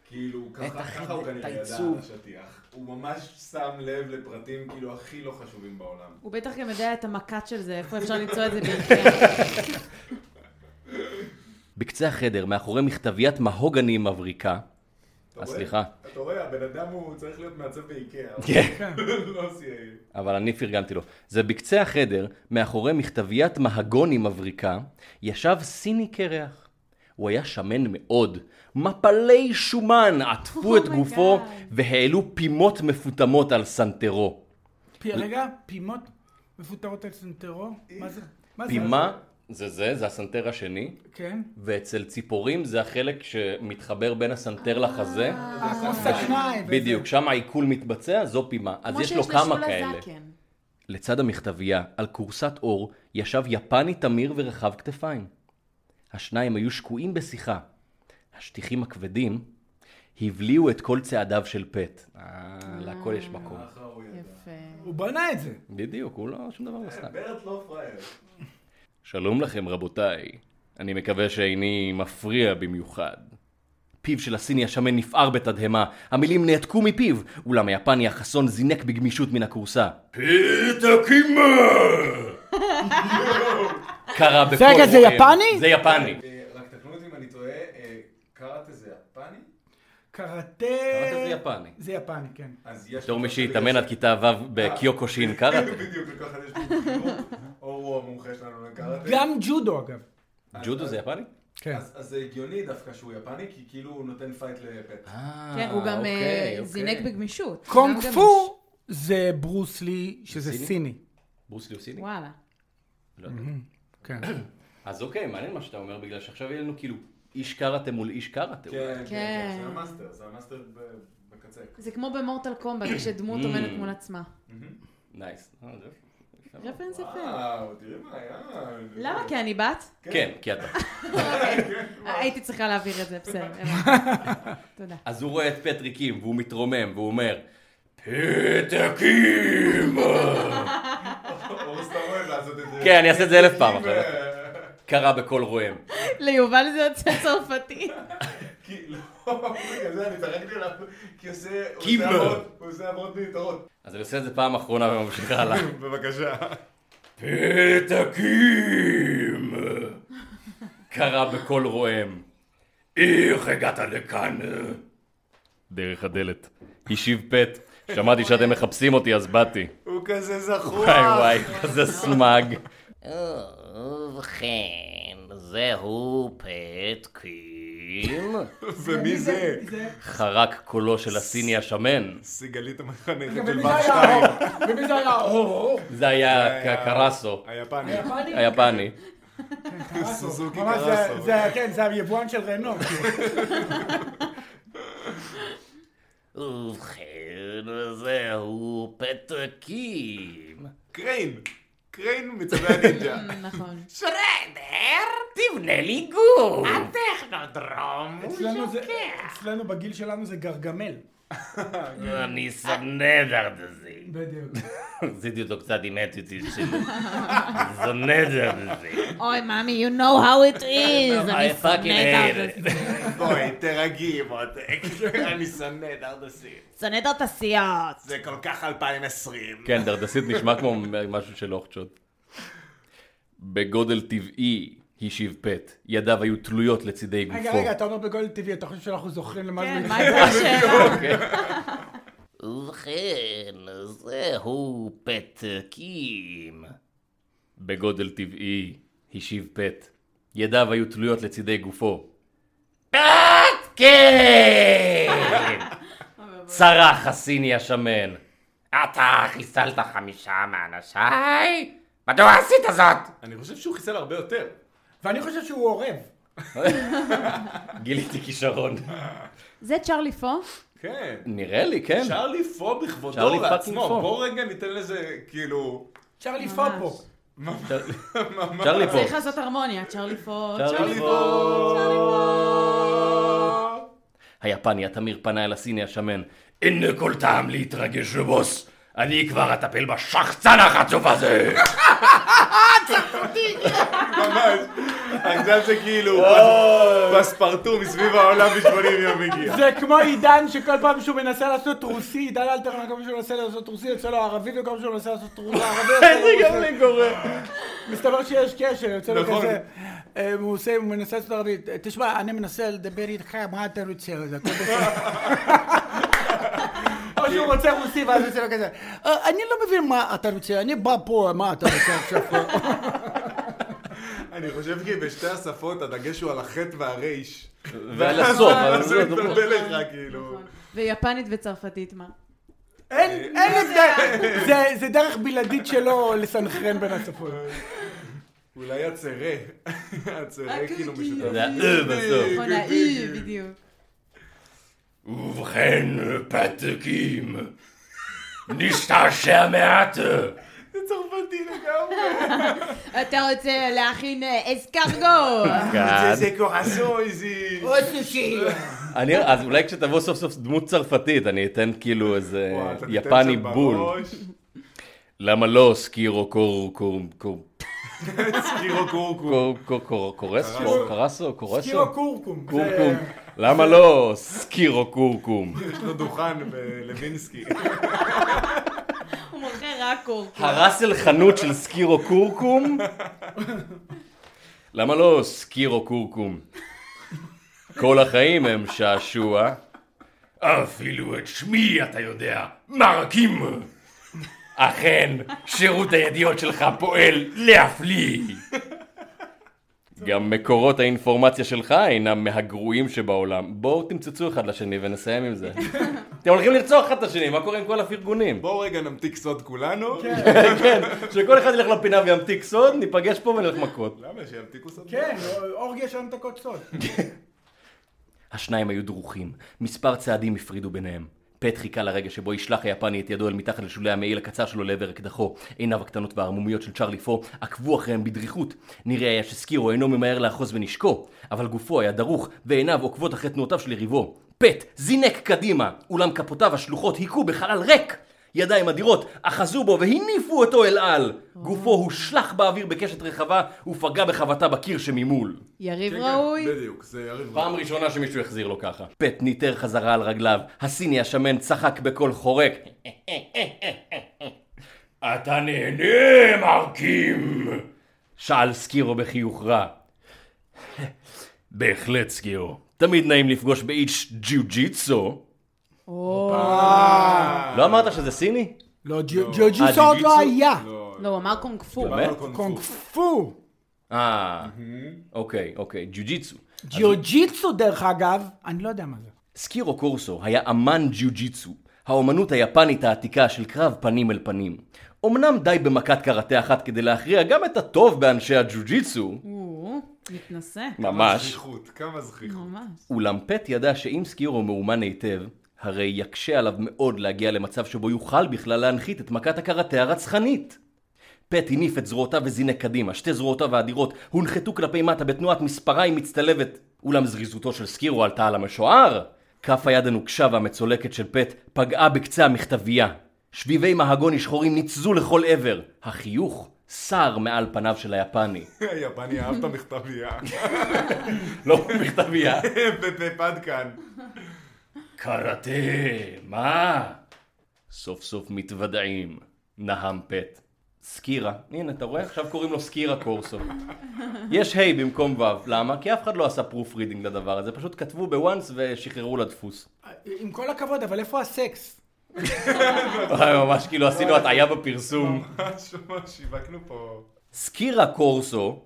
[SPEAKER 1] כאילו, ככה
[SPEAKER 2] בטח,
[SPEAKER 1] ככה הוא
[SPEAKER 2] את
[SPEAKER 1] כנראה ידע על
[SPEAKER 2] העיצוב.
[SPEAKER 1] השטיח. הוא ממש שם לב לפרטים כאילו הכי לא חשובים בעולם.
[SPEAKER 4] הוא בטח גם יודע את המכת של זה, איפה אפשר למצוא את זה באיקאה.
[SPEAKER 2] בקצה החדר, מאחורי מכתביית מהוגני מבריקה.
[SPEAKER 1] אתה
[SPEAKER 2] אה,
[SPEAKER 1] רואה?
[SPEAKER 2] סליחה.
[SPEAKER 1] אתה רואה, הבן אדם הוא צריך להיות מעצב באיקאה.
[SPEAKER 2] כן.
[SPEAKER 1] [LAUGHS] לא CIA.
[SPEAKER 2] אבל אני פרגנתי לו. זה בקצה החדר, מאחורי מכתביית מהגוני מבריקה, ישב סיני קרח. הוא היה שמן מאוד. מפלי שומן עטפו את
[SPEAKER 4] Oh my
[SPEAKER 2] גופו
[SPEAKER 4] God.
[SPEAKER 2] והעלו פימות מפותמות על סנטרו.
[SPEAKER 5] פי- רגע, פעימות מפוטרות על סנטרו? מה זה? מה זה?
[SPEAKER 2] פימה זה זה, זה הסנטר השני,
[SPEAKER 5] כן.
[SPEAKER 2] ואצל ציפורים זה החלק שמתחבר בין הסנטר לחזה.
[SPEAKER 5] כמו סכנאי. וזה.
[SPEAKER 2] בדיוק, שם העיכול מתבצע, זו פימה. אז יש לו כמה כאלה. לצד המכתבייה, על כורסת אור, ישב יפני תמיר ורחב כתפיים. השניים היו שקועים בשיחה. השטיחים הכבדים הבליעו את כל צעדיו של פט. אה, להכל יש מקום.
[SPEAKER 1] אה,
[SPEAKER 4] יפה.
[SPEAKER 5] הוא בנה את זה.
[SPEAKER 2] בדיוק, הוא לא, שום דבר לא סתם.
[SPEAKER 1] ברט לא פראייר.
[SPEAKER 2] שלום לכם רבותיי, אני מקווה שאיני מפריע במיוחד. פיו של הסיני השמן נפער בתדהמה, המילים נעתקו מפיו, אולם היפני החסון זינק בגמישות מן הכורסה. פית [LAUGHS] הקימה! קרא בקול
[SPEAKER 5] רגע, זה
[SPEAKER 2] רועם.
[SPEAKER 5] יפני?
[SPEAKER 2] זה יפני.
[SPEAKER 1] אה, רק תקנו אותי אם אני טועה, אה, קראת איזה יפני?
[SPEAKER 5] קראטה...
[SPEAKER 2] קראטה זה יפני.
[SPEAKER 5] זה יפני, כן.
[SPEAKER 1] אז יש...
[SPEAKER 2] בתור מי שהתאמן עד כיתה ו' בקיוקושין קראטה.
[SPEAKER 1] [LAUGHS] בדיוק, לכל אחד יש פה אור הוא המומחה שלנו לקראטה.
[SPEAKER 5] גם ג'ודו אגב.
[SPEAKER 2] ג'ודו זה יפני?
[SPEAKER 5] כן.
[SPEAKER 1] אז אז זה הגיוני דווקא שהוא יפני, כי כאילו הוא נותן פייט לפט.
[SPEAKER 4] כן, הוא גם אה,
[SPEAKER 2] אוקיי, אוקיי.
[SPEAKER 4] זינק בגמישות.
[SPEAKER 5] קונג
[SPEAKER 4] גם
[SPEAKER 5] פו זה ברוס לי, שזה
[SPEAKER 2] סיני?
[SPEAKER 5] סיני.
[SPEAKER 2] ברוס לי הוא סיני?
[SPEAKER 4] גמיש. וואלה.
[SPEAKER 2] לא יודע.
[SPEAKER 5] כן.
[SPEAKER 2] אז אוקיי, מעניין מה שאתה אומר, בגלל שעכשיו יהיה לנו כאילו איש קראטה מול איש קראטה. אולי.
[SPEAKER 1] כן, כן, כן,
[SPEAKER 4] כן.
[SPEAKER 1] זה המאסטר, זה המאסטר ב- בקצה.
[SPEAKER 4] זה כמו במורטל קומבט, שדמות עומדת מול עצמה.
[SPEAKER 2] נייס. אה, זה יפה.
[SPEAKER 4] רפרנס יפה.
[SPEAKER 1] וואו, תראי מה היה. [LAUGHS]
[SPEAKER 4] למה? כי אני בת?
[SPEAKER 2] כן, כי אתה.
[SPEAKER 4] הייתי צריכה להעביר את זה, בסדר. הבנתי. תודה.
[SPEAKER 2] אז הוא רואה את פטריקים, והוא מתרומם, והוא אומר, פטריקים!
[SPEAKER 1] אור סתם אוהב לעשות את זה.
[SPEAKER 2] כן, אני אעשה את זה אלף פעם
[SPEAKER 1] אה,
[SPEAKER 2] אחרת. קרא בקול רועם.
[SPEAKER 4] ליובל זה יוצא צרפתי.
[SPEAKER 1] כי לא, בגלל זה אני צחקתי עליו, כי עושה... הוא
[SPEAKER 2] קימבר.
[SPEAKER 1] עושה עברות- הוא עושה עברות מיותרות.
[SPEAKER 2] אז אני עושה את זה פעם אחרונה וממשיך הלאה.
[SPEAKER 1] בבקשה.
[SPEAKER 2] פתקים! קרא בקול רועם. איך הגעת לכאן? דרך הדלת. השיב פט. שמעתי שאתם מחפשים אותי, אז באתי.
[SPEAKER 1] הוא כזה זכור.
[SPEAKER 2] וואי וואי, כזה סמג.
[SPEAKER 6] ובכן, זהו פטקין.
[SPEAKER 1] ומי זה?
[SPEAKER 2] חרק קולו של הסיני השמן.
[SPEAKER 1] סיגלית המחנכת של
[SPEAKER 5] ומי
[SPEAKER 1] בר
[SPEAKER 5] זה
[SPEAKER 1] שתיים.
[SPEAKER 5] היה? ומי זה היה?
[SPEAKER 2] [LAUGHS]
[SPEAKER 5] או,
[SPEAKER 2] זה היה ק- קרסו,
[SPEAKER 1] היפני.
[SPEAKER 2] היפני.
[SPEAKER 1] סוזוקי
[SPEAKER 5] ממש זה-
[SPEAKER 1] קרסו.
[SPEAKER 5] זה, כן, זה היבואן של כאילו. רנו.
[SPEAKER 6] ובכן, זהו פטקין.
[SPEAKER 1] קריין. קריין מצבי הנינג'ה.
[SPEAKER 4] נכון.
[SPEAKER 6] שרדר, תבנה לי גוף. הטכנודרום הוא
[SPEAKER 5] אצלנו זה-
[SPEAKER 6] שוקע.
[SPEAKER 5] אצלנו בגיל שלנו זה גרגמל.
[SPEAKER 6] אני שונא
[SPEAKER 2] [LAUGHS]
[SPEAKER 6] דרדזים.
[SPEAKER 5] בדיוק.
[SPEAKER 6] עשיתי אותו קצת עם אתיוטיב [LAUGHS] שלי. שונא דרדזים.
[SPEAKER 4] אוי, מאמי, you know how it is. אני
[SPEAKER 6] I fucking hate it.
[SPEAKER 1] בואי, תרגי מותק. [LAUGHS] אני שונא דרדסים.
[SPEAKER 4] שונאת את הסיעות.
[SPEAKER 1] זה כל כך 2020.
[SPEAKER 2] כן, דרדסית נשמע כמו משהו של אוכצ'וט. בגודל טבעי, השיב פט. ידיו היו תלויות לצידי גופו.
[SPEAKER 5] רגע, רגע, אתה אומר בגול טבעי, אתה חושב שאנחנו זוכרים למה
[SPEAKER 4] כן,
[SPEAKER 5] זה...
[SPEAKER 4] מה הייתה השאלה?
[SPEAKER 6] ובכן, זהו פתקים.
[SPEAKER 2] בגודל טבעי, השיב פט. ידיו היו תלויות לצידי גופו.
[SPEAKER 6] פט!
[SPEAKER 5] [LAUGHS]
[SPEAKER 6] כן! צרח הסיני השמן. אתה חיסלת חמישה מאנשיי? מדוע עשית זאת?
[SPEAKER 1] אני חושב שהוא חיסל הרבה יותר.
[SPEAKER 7] ואני חושב שהוא עורב.
[SPEAKER 6] גיליתי כישרון.
[SPEAKER 4] זה צ'רלי פו?
[SPEAKER 1] כן.
[SPEAKER 2] נראה לי, כן.
[SPEAKER 1] צ'רלי פו בכבודו
[SPEAKER 2] צ'רלי פאקינג
[SPEAKER 1] לעצמו.
[SPEAKER 2] פו.
[SPEAKER 1] בוא רגע ניתן לזה, כאילו...
[SPEAKER 7] צ'רלי
[SPEAKER 4] ממש.
[SPEAKER 7] פופו.
[SPEAKER 1] ממש.
[SPEAKER 2] צ'רלי פו.
[SPEAKER 4] צריך לעשות הרמוניה, צ'רלי פו,
[SPEAKER 2] צ'רלי
[SPEAKER 4] צ'רלי
[SPEAKER 2] פו.
[SPEAKER 4] פו, צ'רלי
[SPEAKER 2] היפני התמיר פנה אל הסיני השמן.
[SPEAKER 6] אין כל טעם להתרגש בוס. אני כבר אטפל בשחצן החצוף הזה!
[SPEAKER 1] ממש. עכשיו זה כאילו פספרטום מסביב העולם ב-80 יום מגיע.
[SPEAKER 7] זה כמו עידן שכל פעם שהוא מנסה לעשות רוסי, עידן אלתרמן, כל פעם שהוא מנסה לעשות רוסי, יוצא לו ערבי, וכל פעם שהוא מנסה לעשות רוסי, ערבי, יוצא [LAUGHS] לו רוסי.
[SPEAKER 1] לי קורה.
[SPEAKER 7] מסתבר שיש קשר, יוצא לו
[SPEAKER 1] נכון.
[SPEAKER 7] כזה. אה, הוא עושה, הוא מנסה לעשות ערבית. תשמע, אני מנסה לדבר איתך, מה אתה רוצה? זה הכל בסדר. [LAUGHS] או שהוא רוצה רוסי, ואז יוצא לו כזה. "אה, אני לא מבין מה אתה רוצה, אני בא פה, מה אתה רוצה עכשיו? פה?"
[SPEAKER 1] אני חושב כי בשתי השפות הדגש הוא על החטא והרייש.
[SPEAKER 2] [LAUGHS] ועל הסוף, אבל
[SPEAKER 1] אז זה
[SPEAKER 2] זה
[SPEAKER 4] [LAUGHS]
[SPEAKER 2] לא-
[SPEAKER 1] מתבלבל לך, כאילו.
[SPEAKER 4] פו. נכון, ויפנית וצרפתית, מה?
[SPEAKER 7] אין אין הבדל. זה- זה דרך בלעדית שלו לסנכרן בין השפות.
[SPEAKER 1] אולי הצרה. הצרה
[SPEAKER 4] רק
[SPEAKER 1] כאילו
[SPEAKER 4] כי-
[SPEAKER 1] משותף.
[SPEAKER 2] זה ה"א" בסוף.
[SPEAKER 4] נכון, האי, בדיוק.
[SPEAKER 6] ובכן, פתקים, נשתעשע מעט.
[SPEAKER 1] זה צרפתי לגמרי.
[SPEAKER 4] אתה רוצה להכין אה, אסקרגו!
[SPEAKER 1] זה- זה קורסון, זה...
[SPEAKER 2] אני, אז אולי כשתבוא סוף סוף דמות צרפתית, אני אתן כאילו איזה
[SPEAKER 1] וואי, אתה תיתן
[SPEAKER 2] יפני
[SPEAKER 1] שם
[SPEAKER 2] בול.
[SPEAKER 1] בראש.
[SPEAKER 2] למה לא סקירו קור... קור... קור...
[SPEAKER 1] סקירו קורקו.
[SPEAKER 2] קור... קור... קור... קורס?
[SPEAKER 1] קרסו.
[SPEAKER 2] קרסו? קורסו?
[SPEAKER 7] קירו קורקום.
[SPEAKER 2] קורקום. למה לא סקירו קורקום?
[SPEAKER 1] יש לו דוכן בלווינסקי.
[SPEAKER 4] הוא מוכר רק קורקום.
[SPEAKER 2] הרס אל חנות של סקירו קורקום? למה לא סקירו קורקום? כל החיים הם שעשוע.
[SPEAKER 6] אפילו את שמי אתה יודע, מרקים. אכן, שירות הידיעות שלך פועל להפליא.
[SPEAKER 2] גם מקורות האינפורמציה שלך אינם מהגרועים שבעולם. בואו תמצצו אחד לשני ונסיים עם זה. אתם הולכים לרצוח אחד את השני, מה קורה עם כל הפרגונים?
[SPEAKER 1] בואו רגע נמתיק סוד כולנו.
[SPEAKER 2] כן, שכל אחד ילך לפינה וימתיק סוד, ניפגש פה ונלך מכות.
[SPEAKER 1] למה שימתיקו סוד?
[SPEAKER 7] כן,
[SPEAKER 5] לא,
[SPEAKER 7] אורגיה של המתקות סוד.
[SPEAKER 2] השניים היו דרוכים, מספר צעדים הפרידו ביניהם. פט חיכה לרגע שבו ישלח היפני את ידו אל מתחת לשולי המעיל הקצר שלו לעבר אקדחו. עיניו הקטנות והערמומיות של צ'רלי פו עקבו אחריהם בדריכות. נראה היה שסקירו אינו ממהר לאחוז בנשקו, אבל גופו היה דרוך, ועיניו עוקבות אחרי תנועותיו של יריבו. פט זינק קדימה, אולם כפותיו השלוחות היכו בחלל ריק! ידיים אדירות אחזו בו והניפו אותו אל על! גופו הושלך באוויר בקשת רחבה ופגע בחבטה בקיר שממול.
[SPEAKER 4] יריב
[SPEAKER 1] כן,
[SPEAKER 4] ראוי.
[SPEAKER 1] כן, בדיוק, זה יריב ראוי.
[SPEAKER 2] פעם ראשונה שמישהו החזיר לו ככה. פט ניטר חזרה על רגליו, הסיני השמן צחק בקול חורק.
[SPEAKER 6] אתה נהנה, מרקים.
[SPEAKER 2] שאל סקירו בחיוך רע.
[SPEAKER 6] בהחלט, סגירו.
[SPEAKER 2] תמיד נעים לפגוש באיץ' ג'יוג'יצו. לא אמרת שזה סיני?
[SPEAKER 7] לא, ג'יוג'יסו עוד לא היה.
[SPEAKER 4] לא, הוא אמר קונג פו.
[SPEAKER 2] באמת?
[SPEAKER 7] קונג פו.
[SPEAKER 2] אה, אוקיי, אוקיי, ג'יוג'יצו.
[SPEAKER 7] ג'יוג'יצו דרך אגב, אני לא יודע מה זה.
[SPEAKER 2] סקירו קורסו היה אמן ג'יוג'יצו, האומנות היפנית העתיקה של קרב פנים אל פנים. אמנם די במכת קראטה אחת כדי להכריע גם את הטוב באנשי הג'יוג'יצו,
[SPEAKER 4] או, מתנשא.
[SPEAKER 1] כמה
[SPEAKER 2] ממש,
[SPEAKER 1] זכיחות, כמה זכיחות.
[SPEAKER 4] ממש.
[SPEAKER 2] אולם פט ידע שאם סקירו מאומן היטב, הרי יקשה עליו מאוד להגיע למצב שבו יוכל בכלל להנחית את מכת הקראטה הרצחנית. פט הניף את זרועותיו וזינק קדימה, שתי זרועותיו האדירות הונחתו כלפי מטה בתנועת מספריים מצטלבת. אולם זריזותו של סקירו עלתה על המשוער. כף היד הנוקשה והמצולקת של פט פגעה בקצה המכתבייה. שביבי מהגוני שחורים ניצזו לכל עבר. החיוך סר מעל פניו של היפני.
[SPEAKER 1] היפני אהב את המכתבייה.
[SPEAKER 2] לא מכתבייה.
[SPEAKER 1] בפד כאן.
[SPEAKER 6] קראטה, מה?
[SPEAKER 2] סוף סוף מתוודעים, נהם פט. סקירה, הנה אתה רואה? עכשיו קוראים לו סקירה קורסו. יש ה' במקום ו', למה? כי אף אחד לא עשה פרוף רידינג לדבר הזה, פשוט כתבו בוואנס ושחררו לדפוס.
[SPEAKER 7] עם כל הכבוד, אבל איפה הסקס?
[SPEAKER 2] ממש כאילו עשינו הטעיה בפרסום.
[SPEAKER 1] ממש ממש שיווקנו פה.
[SPEAKER 2] סקירה קורסו,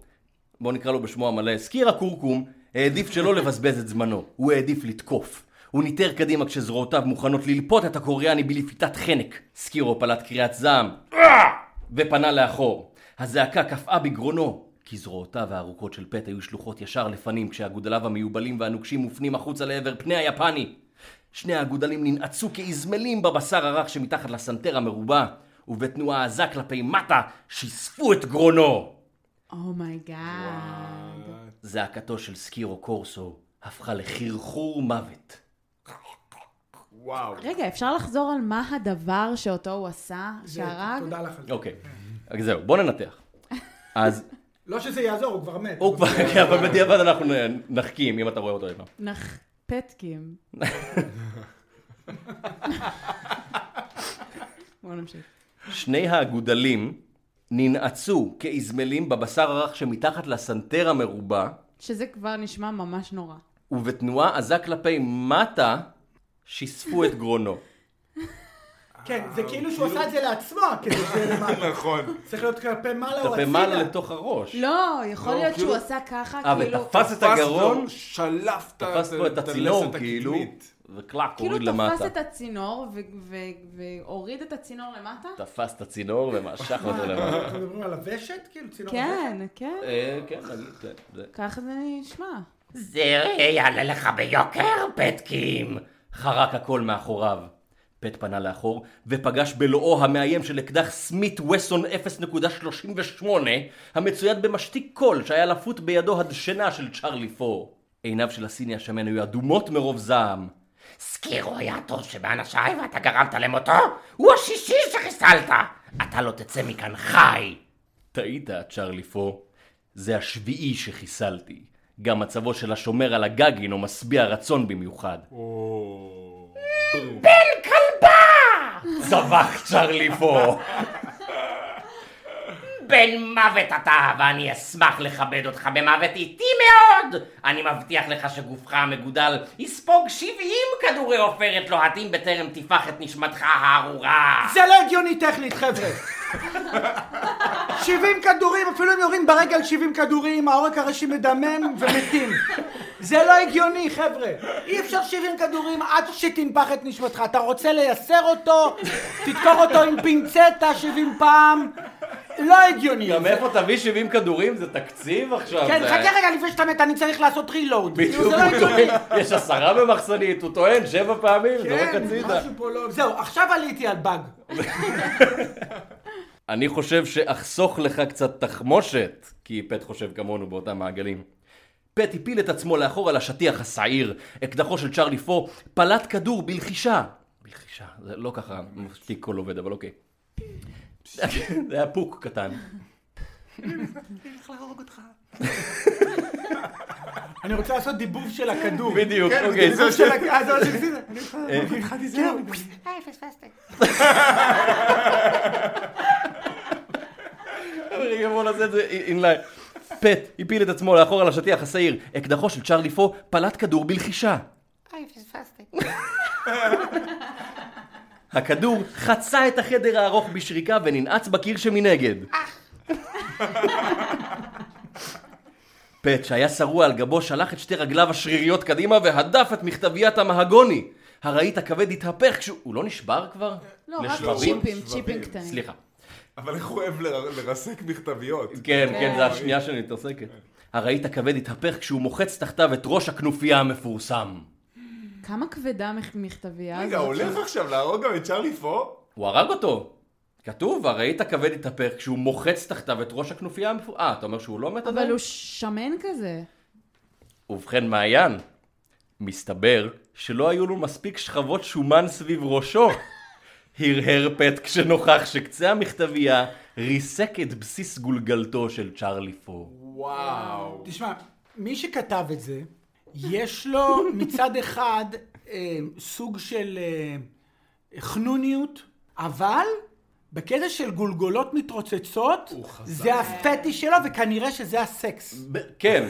[SPEAKER 2] בואו נקרא לו בשמו המלא, סקירה קורקום, העדיף שלא לבזבז את זמנו, הוא העדיף לתקוף. הוא ניטר קדימה כשזרועותיו מוכנות ללפות את הקוריאני בלפיתת חנק. סקירו פלט קריאת זעם, "אה!" ופנה לאחור. הזעקה קפאה בגרונו, כי זרועותיו הארוכות של פט היו שלוחות ישר לפנים כשהגודליו המיובלים והנוקשים מופנים החוצה לעבר פני היפני. שני האגודלים ננעצו כאזמלים בבשר הרך שמתחת לסנטר המרובע, ובתנועה עזה כלפי מטה שיספו את גרונו.
[SPEAKER 4] אומייגאד.
[SPEAKER 2] זעקתו של סקירו קורסו הפכה לחרחור מוות.
[SPEAKER 1] וואו.
[SPEAKER 4] רגע, אפשר לחזור על מה הדבר שאותו הוא עשה, שהרג?
[SPEAKER 5] תודה לך על זה.
[SPEAKER 2] אוקיי, אז זהו, בוא ננתח. אז
[SPEAKER 5] לא שזה יעזור, הוא כבר מת.
[SPEAKER 2] הוא כבר, כן, אבל בדיעבד אנחנו נ- נחכים אם אתה רואה אותו אי פעם.
[SPEAKER 4] נח... [LAUGHS] פטקים. בואו נמשיך.
[SPEAKER 2] שני האגודלים ננעצו כאזמלים בבשר הרך שמתחת לסנטר המרובע,
[SPEAKER 4] שזה כבר נשמע ממש נורא.
[SPEAKER 2] ובתנועה עזה כלפי מטה שיספו את גרונו.
[SPEAKER 5] כן, זה כאילו שהוא עשה את זה לעצמו, כדי שזה למעלה.
[SPEAKER 1] נכון.
[SPEAKER 5] צריך להיות כלפי מעלה או
[SPEAKER 2] כלפי מעלה לתוך הראש.
[SPEAKER 4] לא, יכול
[SPEAKER 1] לא,
[SPEAKER 4] להיות שהוא
[SPEAKER 1] כאילו-
[SPEAKER 4] עשה ככה,
[SPEAKER 2] אה,
[SPEAKER 4] כאילו...
[SPEAKER 2] ותפס את הגרון,
[SPEAKER 1] שלף את ה-
[SPEAKER 2] תפס לו את
[SPEAKER 1] הלסת
[SPEAKER 2] הצינור כאילו,
[SPEAKER 1] הקדמית.
[SPEAKER 2] וקלאק,
[SPEAKER 4] כאילו
[SPEAKER 2] הוריד
[SPEAKER 4] תפס
[SPEAKER 2] למטה.
[SPEAKER 4] את הצינור ו- ו- והוריד את הצינור למטה?
[SPEAKER 2] תפס את הצינור ומשך אותו למטה.
[SPEAKER 5] אנחנו מדברים על הוושט? כאילו צינור הוושט?
[SPEAKER 4] כן, כן.
[SPEAKER 2] אה, כן, נגיד, כן, זה.
[SPEAKER 4] ככה זה נשמע.
[SPEAKER 2] זה יעלה לך ביוקר, פטקים! חרק הקול מאחוריו. פט פנה לאחור, ופגש בלואו המאיים של אקדח סמית וסון 0.38, המצויד במשתיק קול שהיה לפות בידו הדשנה של צ'רלי פור. עיניו של הסיני השמן היו אדומות מרוב זעם. סקירו היה הטוב שבאנשיי ואתה גרמת למותו? הוא השישי שחיסלת! אתה לא תצא מכאן חי! טעית, צ'רלי פור. זה השביעי שחיסלתי. גם מצבו של השומר על הגג הינו משביע רצון במיוחד. בן כלבה! צבח צ'רלי פור. בן מוות אתה, ואני אשמח לכבד אותך במוות איטי מאוד! אני מבטיח לך שגופך המגודל יספוג 70 כדורי עופרת לוהטים בטרם תפח את נשמתך הארורה!
[SPEAKER 5] זה לא הגיוני טכנית, חבר'ה. 70 כדורים, אפילו אם יורים ברגל 70 כדורים, העורק הראשי מדמם ומתים. זה לא הגיוני, חבר'ה. אי אפשר 70 כדורים עד שתנפח את נשמתך. אתה רוצה לייסר אותו, תדקור אותו עם פינצטה 70 פעם. לא הגיוני.
[SPEAKER 2] גם איפה תביא 70 כדורים? זה תקציב עכשיו?
[SPEAKER 5] כן,
[SPEAKER 2] זה-
[SPEAKER 5] חכה רגע לפני שאתה מת, אני צריך לעשות רילואוד.
[SPEAKER 2] בדיוק,
[SPEAKER 5] זה לא
[SPEAKER 2] הוא
[SPEAKER 5] הגיוני.
[SPEAKER 2] טוען, יש עשרה במחסנית, הוא טוען שבע פעמים, זורק
[SPEAKER 5] כן,
[SPEAKER 2] הצידה.
[SPEAKER 5] משהו פה לא... זהו, עכשיו עליתי על באג.
[SPEAKER 2] אני חושב שאחסוך לך קצת תחמושת, כי פט חושב כמונו באותם מעגלים. פט הפיל את עצמו לאחור על השטיח השעיר, אקדחו של צ'רלי פור, פלט כדור בלחישה. בלחישה, זה לא ככה מספיק כל עובד, אבל אוקיי. [LAUGHS] זה היה פוק קטן.
[SPEAKER 5] אני רוצה לעשות דיבוב של הכדור.
[SPEAKER 2] בדיוק, אוקיי.
[SPEAKER 5] דיבוב
[SPEAKER 2] [LAUGHS]
[SPEAKER 5] של הכ- אה, כן, זה מה שניסיתי.
[SPEAKER 2] רגע, בוא נעשה את זה אינליין. פט הפיל את עצמו לאחור על השטיח השעיר, אקדחו של צ'רלי פור פלט כדור בלחישה. הכדור חצה את החדר הארוך בשריקה וננעץ בקיר שמנגד. פט, שהיה שרוע על גבו, שלח את שתי רגליו השריריות קדימה והדף את מכתביית המהגוני. הרהיט הכבד התהפך כשהוא... הוא לא נשבר כבר?
[SPEAKER 4] לא, רק
[SPEAKER 2] לשבבים?
[SPEAKER 4] צ'יפים, צ'יפים
[SPEAKER 1] שבבים.
[SPEAKER 4] קטנים.
[SPEAKER 2] סליחה.
[SPEAKER 1] אבל איך הוא אוהב לר- לרסק מכתביות.
[SPEAKER 2] כן, כן, זה השנייה שאני מתעסקת. הרהיט הכבד התהפך כשהוא מוחץ תחתיו את ראש הכנופיה המפורסם.
[SPEAKER 4] כמה כבדה מכ- מכתבייה
[SPEAKER 1] רגע, הוא
[SPEAKER 4] הזאת?
[SPEAKER 1] הולך עכשיו להרוג גם את צ'רלי פור?
[SPEAKER 2] הוא הרג אותו. כתוב, הרהיט הכבד התהפך כשהוא מוחץ תחתיו את ראש הכנופיה המפורסם. אה, אתה אומר שהוא לא מת עדיין?
[SPEAKER 4] אבל הוא שמן כזה.
[SPEAKER 2] ובכן מעיין, מסתבר שלא היו לו מספיק שכבות שומן סביב ראשו. הרהר פט כשנוכח שקצה המכתבייה ריסק את בסיס גולגלתו של צ'רלי פור.
[SPEAKER 1] וואו.
[SPEAKER 5] תשמע, מי שכתב את זה, יש לו מצד אחד אה, סוג של אה, חנוניות, אבל בקטע של גולגולות מתרוצצות, זה הפטיש שלו, וכנראה שזה הסקס.
[SPEAKER 2] ב- כן,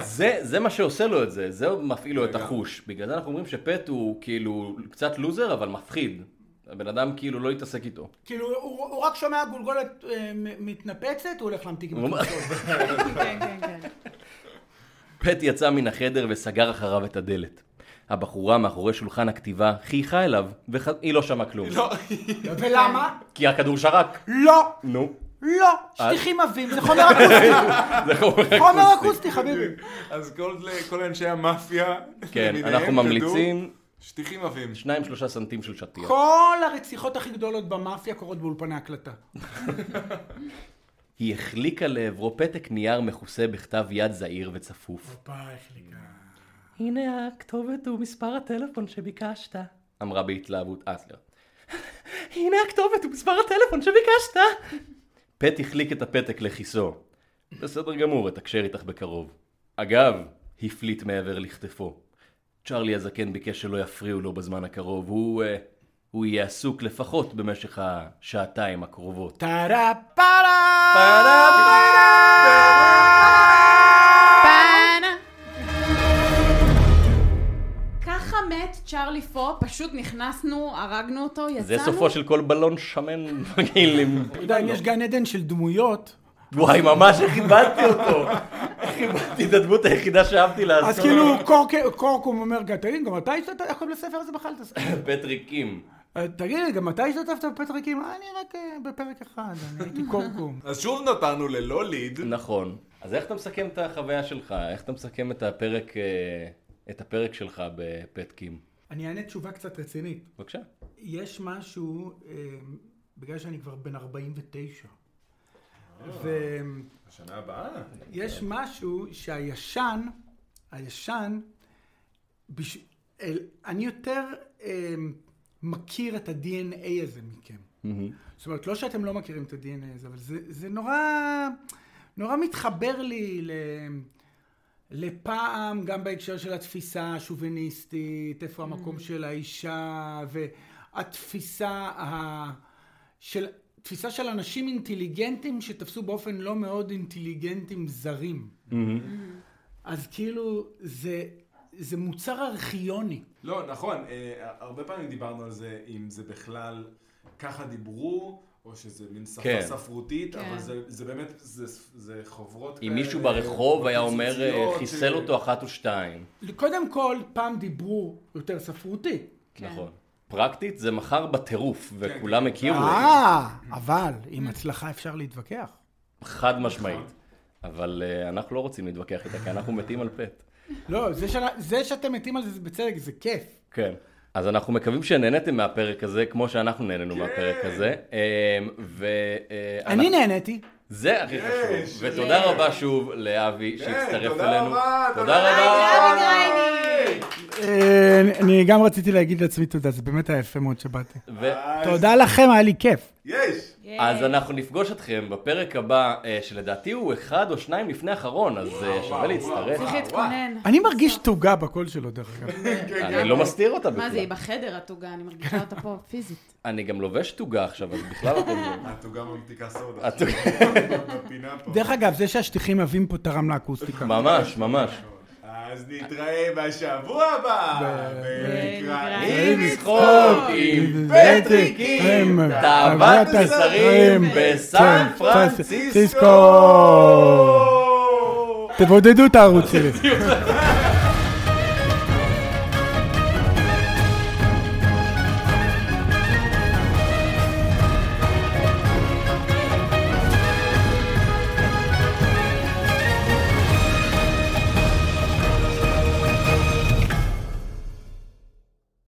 [SPEAKER 2] זה, זה מה שעושה לו את זה, זה מפעיל לו את החוש. בגלל זה אנחנו אומרים שפט הוא כאילו קצת לוזר, אבל מפחיד. הבן אדם כאילו לא יתעסק איתו.
[SPEAKER 5] כאילו, הוא, הוא רק שומע גולגולת אה, מ- מתנפצת, הוא הולך להמתיק עם
[SPEAKER 2] הוא אומר-
[SPEAKER 5] הקלסול.
[SPEAKER 4] כן, כן, כן.
[SPEAKER 2] פט יצא מן החדר וסגר אחריו את הדלת. הבחורה מאחורי שולחן הכתיבה חייכה אליו, והיא לא שמעה כלום.
[SPEAKER 5] ולמה?
[SPEAKER 2] כי הכדור שרק.
[SPEAKER 5] לא,
[SPEAKER 2] נו.
[SPEAKER 5] לא, שטיחים עבים, זה חומר אקוסטי,
[SPEAKER 2] זה חומר
[SPEAKER 5] חומר אקוסטי חביבי.
[SPEAKER 1] אז כל- כל אנשי המאפיה,
[SPEAKER 2] כן,
[SPEAKER 1] למיניהם,
[SPEAKER 2] אנחנו
[SPEAKER 1] תדעו,
[SPEAKER 2] ממליצים
[SPEAKER 1] שטיחים עבים.
[SPEAKER 2] שניים שלושה סנטים של
[SPEAKER 5] כן.
[SPEAKER 2] שטיח.
[SPEAKER 5] כל הרציחות הכי גדולות במאפיה קורות באולפני הקלטה.
[SPEAKER 2] היא החליקה לעברו פתק נייר מכוסה בכתב יד זעיר וצפוף. הנה הכתובת ומספר הטלפון שביקשת. אמרה בהתלהבות אסלר. [LAUGHS] הנה הכתובת ומספר הטלפון שביקשת. [LAUGHS] פט החליק את הפתק לכיסו. בסדר גמור, אתקשר איתך בקרוב. אגב, הפליט מעבר לכתפו. צ'רלי הזקן ביקש שלא יפריעו לו בזמן הקרוב. הוא... אה, הוא יהיה עסוק לפחות במשך השעתיים הקרובות.
[SPEAKER 5] טרה פרה!
[SPEAKER 4] פאנה. ככה מת צ'ארלי פו, פשוט נכנסנו, הרגנו אותו, יצאנו.
[SPEAKER 2] זה סופו של כל בלון שמן [LAUGHS] מגעיל עם...
[SPEAKER 5] אתה יודע, אם יש גן עדן של דמויות,
[SPEAKER 2] וואי, ממש כיבדתי אותו. כיבדתי את הדמות היחידה שאהבתי לעשות.
[SPEAKER 5] אז כאילו קורק- קורקום אומר, "גם- תגיד, גם אתה השתתפת? איך קוראים לספר הזה בכלל?
[SPEAKER 2] פטריקים.
[SPEAKER 5] אה, תגיד, גם אתה השתתפת בפרקים? "אה, אני רק אה, בפרק אחד, אני הייתי קורקום.
[SPEAKER 1] אז שוב נתנו ללא ליד.
[SPEAKER 2] נכון. אז איך אתה מסכם את החוויה שלך? איך אתה מסכם את הפרק, אה, את הפרק שלך בפטקים?
[SPEAKER 5] [LAUGHS] אני אענה תשובה קצת רצינית.
[SPEAKER 2] בבקשה.
[SPEAKER 5] יש משהו, אה, בגלל שאני כבר בן 49, ויש
[SPEAKER 1] שנה הבאה.
[SPEAKER 5] משהו שהישן, הישן, בש... אל- אני יותר אה, מכיר את ה-DNA הזה מכם. זאת אומרת, לא שאתם לא מכירים את ה-DNA הזה, אבל זה, זה נורא, נורא מתחבר לי ל... לפעם, גם בהקשר של התפיסה השוביניסטית, איפה המקום של האישה, והתפיסה ה... של... תפיסה של אנשים אינטליגנטים שתפסו באופן לא מאוד אינטליגנטים זרים. אז כאילו, זה, זה מוצר ארכיוני.
[SPEAKER 1] לא, נכון, אה, הרבה פעמים דיברנו על זה, אם זה בכלל ככה דיברו, או שזה מין שפה
[SPEAKER 2] כן.
[SPEAKER 1] ספרותית, אבל
[SPEAKER 4] כן.
[SPEAKER 1] זה, זה באמת, זה, זה חוברות
[SPEAKER 2] אם
[SPEAKER 5] אה,
[SPEAKER 2] מישהו ברחוב היה אומר, אה,
[SPEAKER 1] פיצוציות,
[SPEAKER 2] חיסל
[SPEAKER 1] אה,
[SPEAKER 2] אותו אחת או שתיים.
[SPEAKER 5] קודם כל, פעם דיברו יותר ספרותי.
[SPEAKER 2] נכון. פרקטית זה מחר בטירוף, וכולם הכירו את זה.
[SPEAKER 5] כן, אה, אבל עם הצלחה אפשר להתווכח.
[SPEAKER 2] חד משמעית. אבל אה, אנחנו לא רוצים להתווכח איתה, כי אנחנו מתים על פט.
[SPEAKER 5] לא, זה, של... זה שאתם מתים על זה, זה בצדק, זה כיף.
[SPEAKER 2] כן. אז אנחנו מקווים שנהניתם מהפרק הזה, כמו שאנחנו נהנינו
[SPEAKER 1] כן.
[SPEAKER 2] מהפרק הזה. אמ, ו... אה,
[SPEAKER 5] אני
[SPEAKER 2] אנחנו-
[SPEAKER 5] נהניתי.
[SPEAKER 2] זה הכי
[SPEAKER 1] יש, כן,
[SPEAKER 2] חשוב. ותודה רבה שוב לאבי שהצטרף
[SPEAKER 1] תודה
[SPEAKER 2] אלינו.
[SPEAKER 1] רבה,
[SPEAKER 2] תודה
[SPEAKER 1] תודה
[SPEAKER 2] רבה.
[SPEAKER 5] אה, אני גם רציתי להגיד לעצמי תודה, זה באמת היה יפה מאוד שבאתי.
[SPEAKER 2] ו-
[SPEAKER 5] תודה לכם, היה לי כיף.
[SPEAKER 1] יש!
[SPEAKER 2] אז אנחנו נפגוש אתכם בפרק הבא, אה, שלדעתי הוא אחד או שניים לפני האחרון, אז אה, שווה להצטרף.
[SPEAKER 4] צריך להתכונן.
[SPEAKER 5] אני מרגיש תוגה בקול שלו, דרך אגב.
[SPEAKER 2] אני לא מסתיר אותה
[SPEAKER 4] מה זה,
[SPEAKER 2] בכלל.
[SPEAKER 4] היא בחדר התוגה, אני מרגישה אותה פה פיזית.
[SPEAKER 2] אני גם לובש תוגה עכשיו, אז בכלל אתם...
[SPEAKER 1] [LAUGHS] אתה אה, גם ממתיקה סודה.
[SPEAKER 2] את-
[SPEAKER 1] בפינה פה.
[SPEAKER 5] דרך אגב, זה שהשטיחים עבים פה תרם לאקוסטיקה.
[SPEAKER 2] ממש, ממש.
[SPEAKER 1] אז נתראה בשבוע הבא!
[SPEAKER 4] ונקראים
[SPEAKER 1] ונקראים
[SPEAKER 2] צחוק עם פטריקים, תאוות מסרים בסן פרנסיסקו.
[SPEAKER 1] סיסקו!
[SPEAKER 5] תבודדו את הערוץ שלי.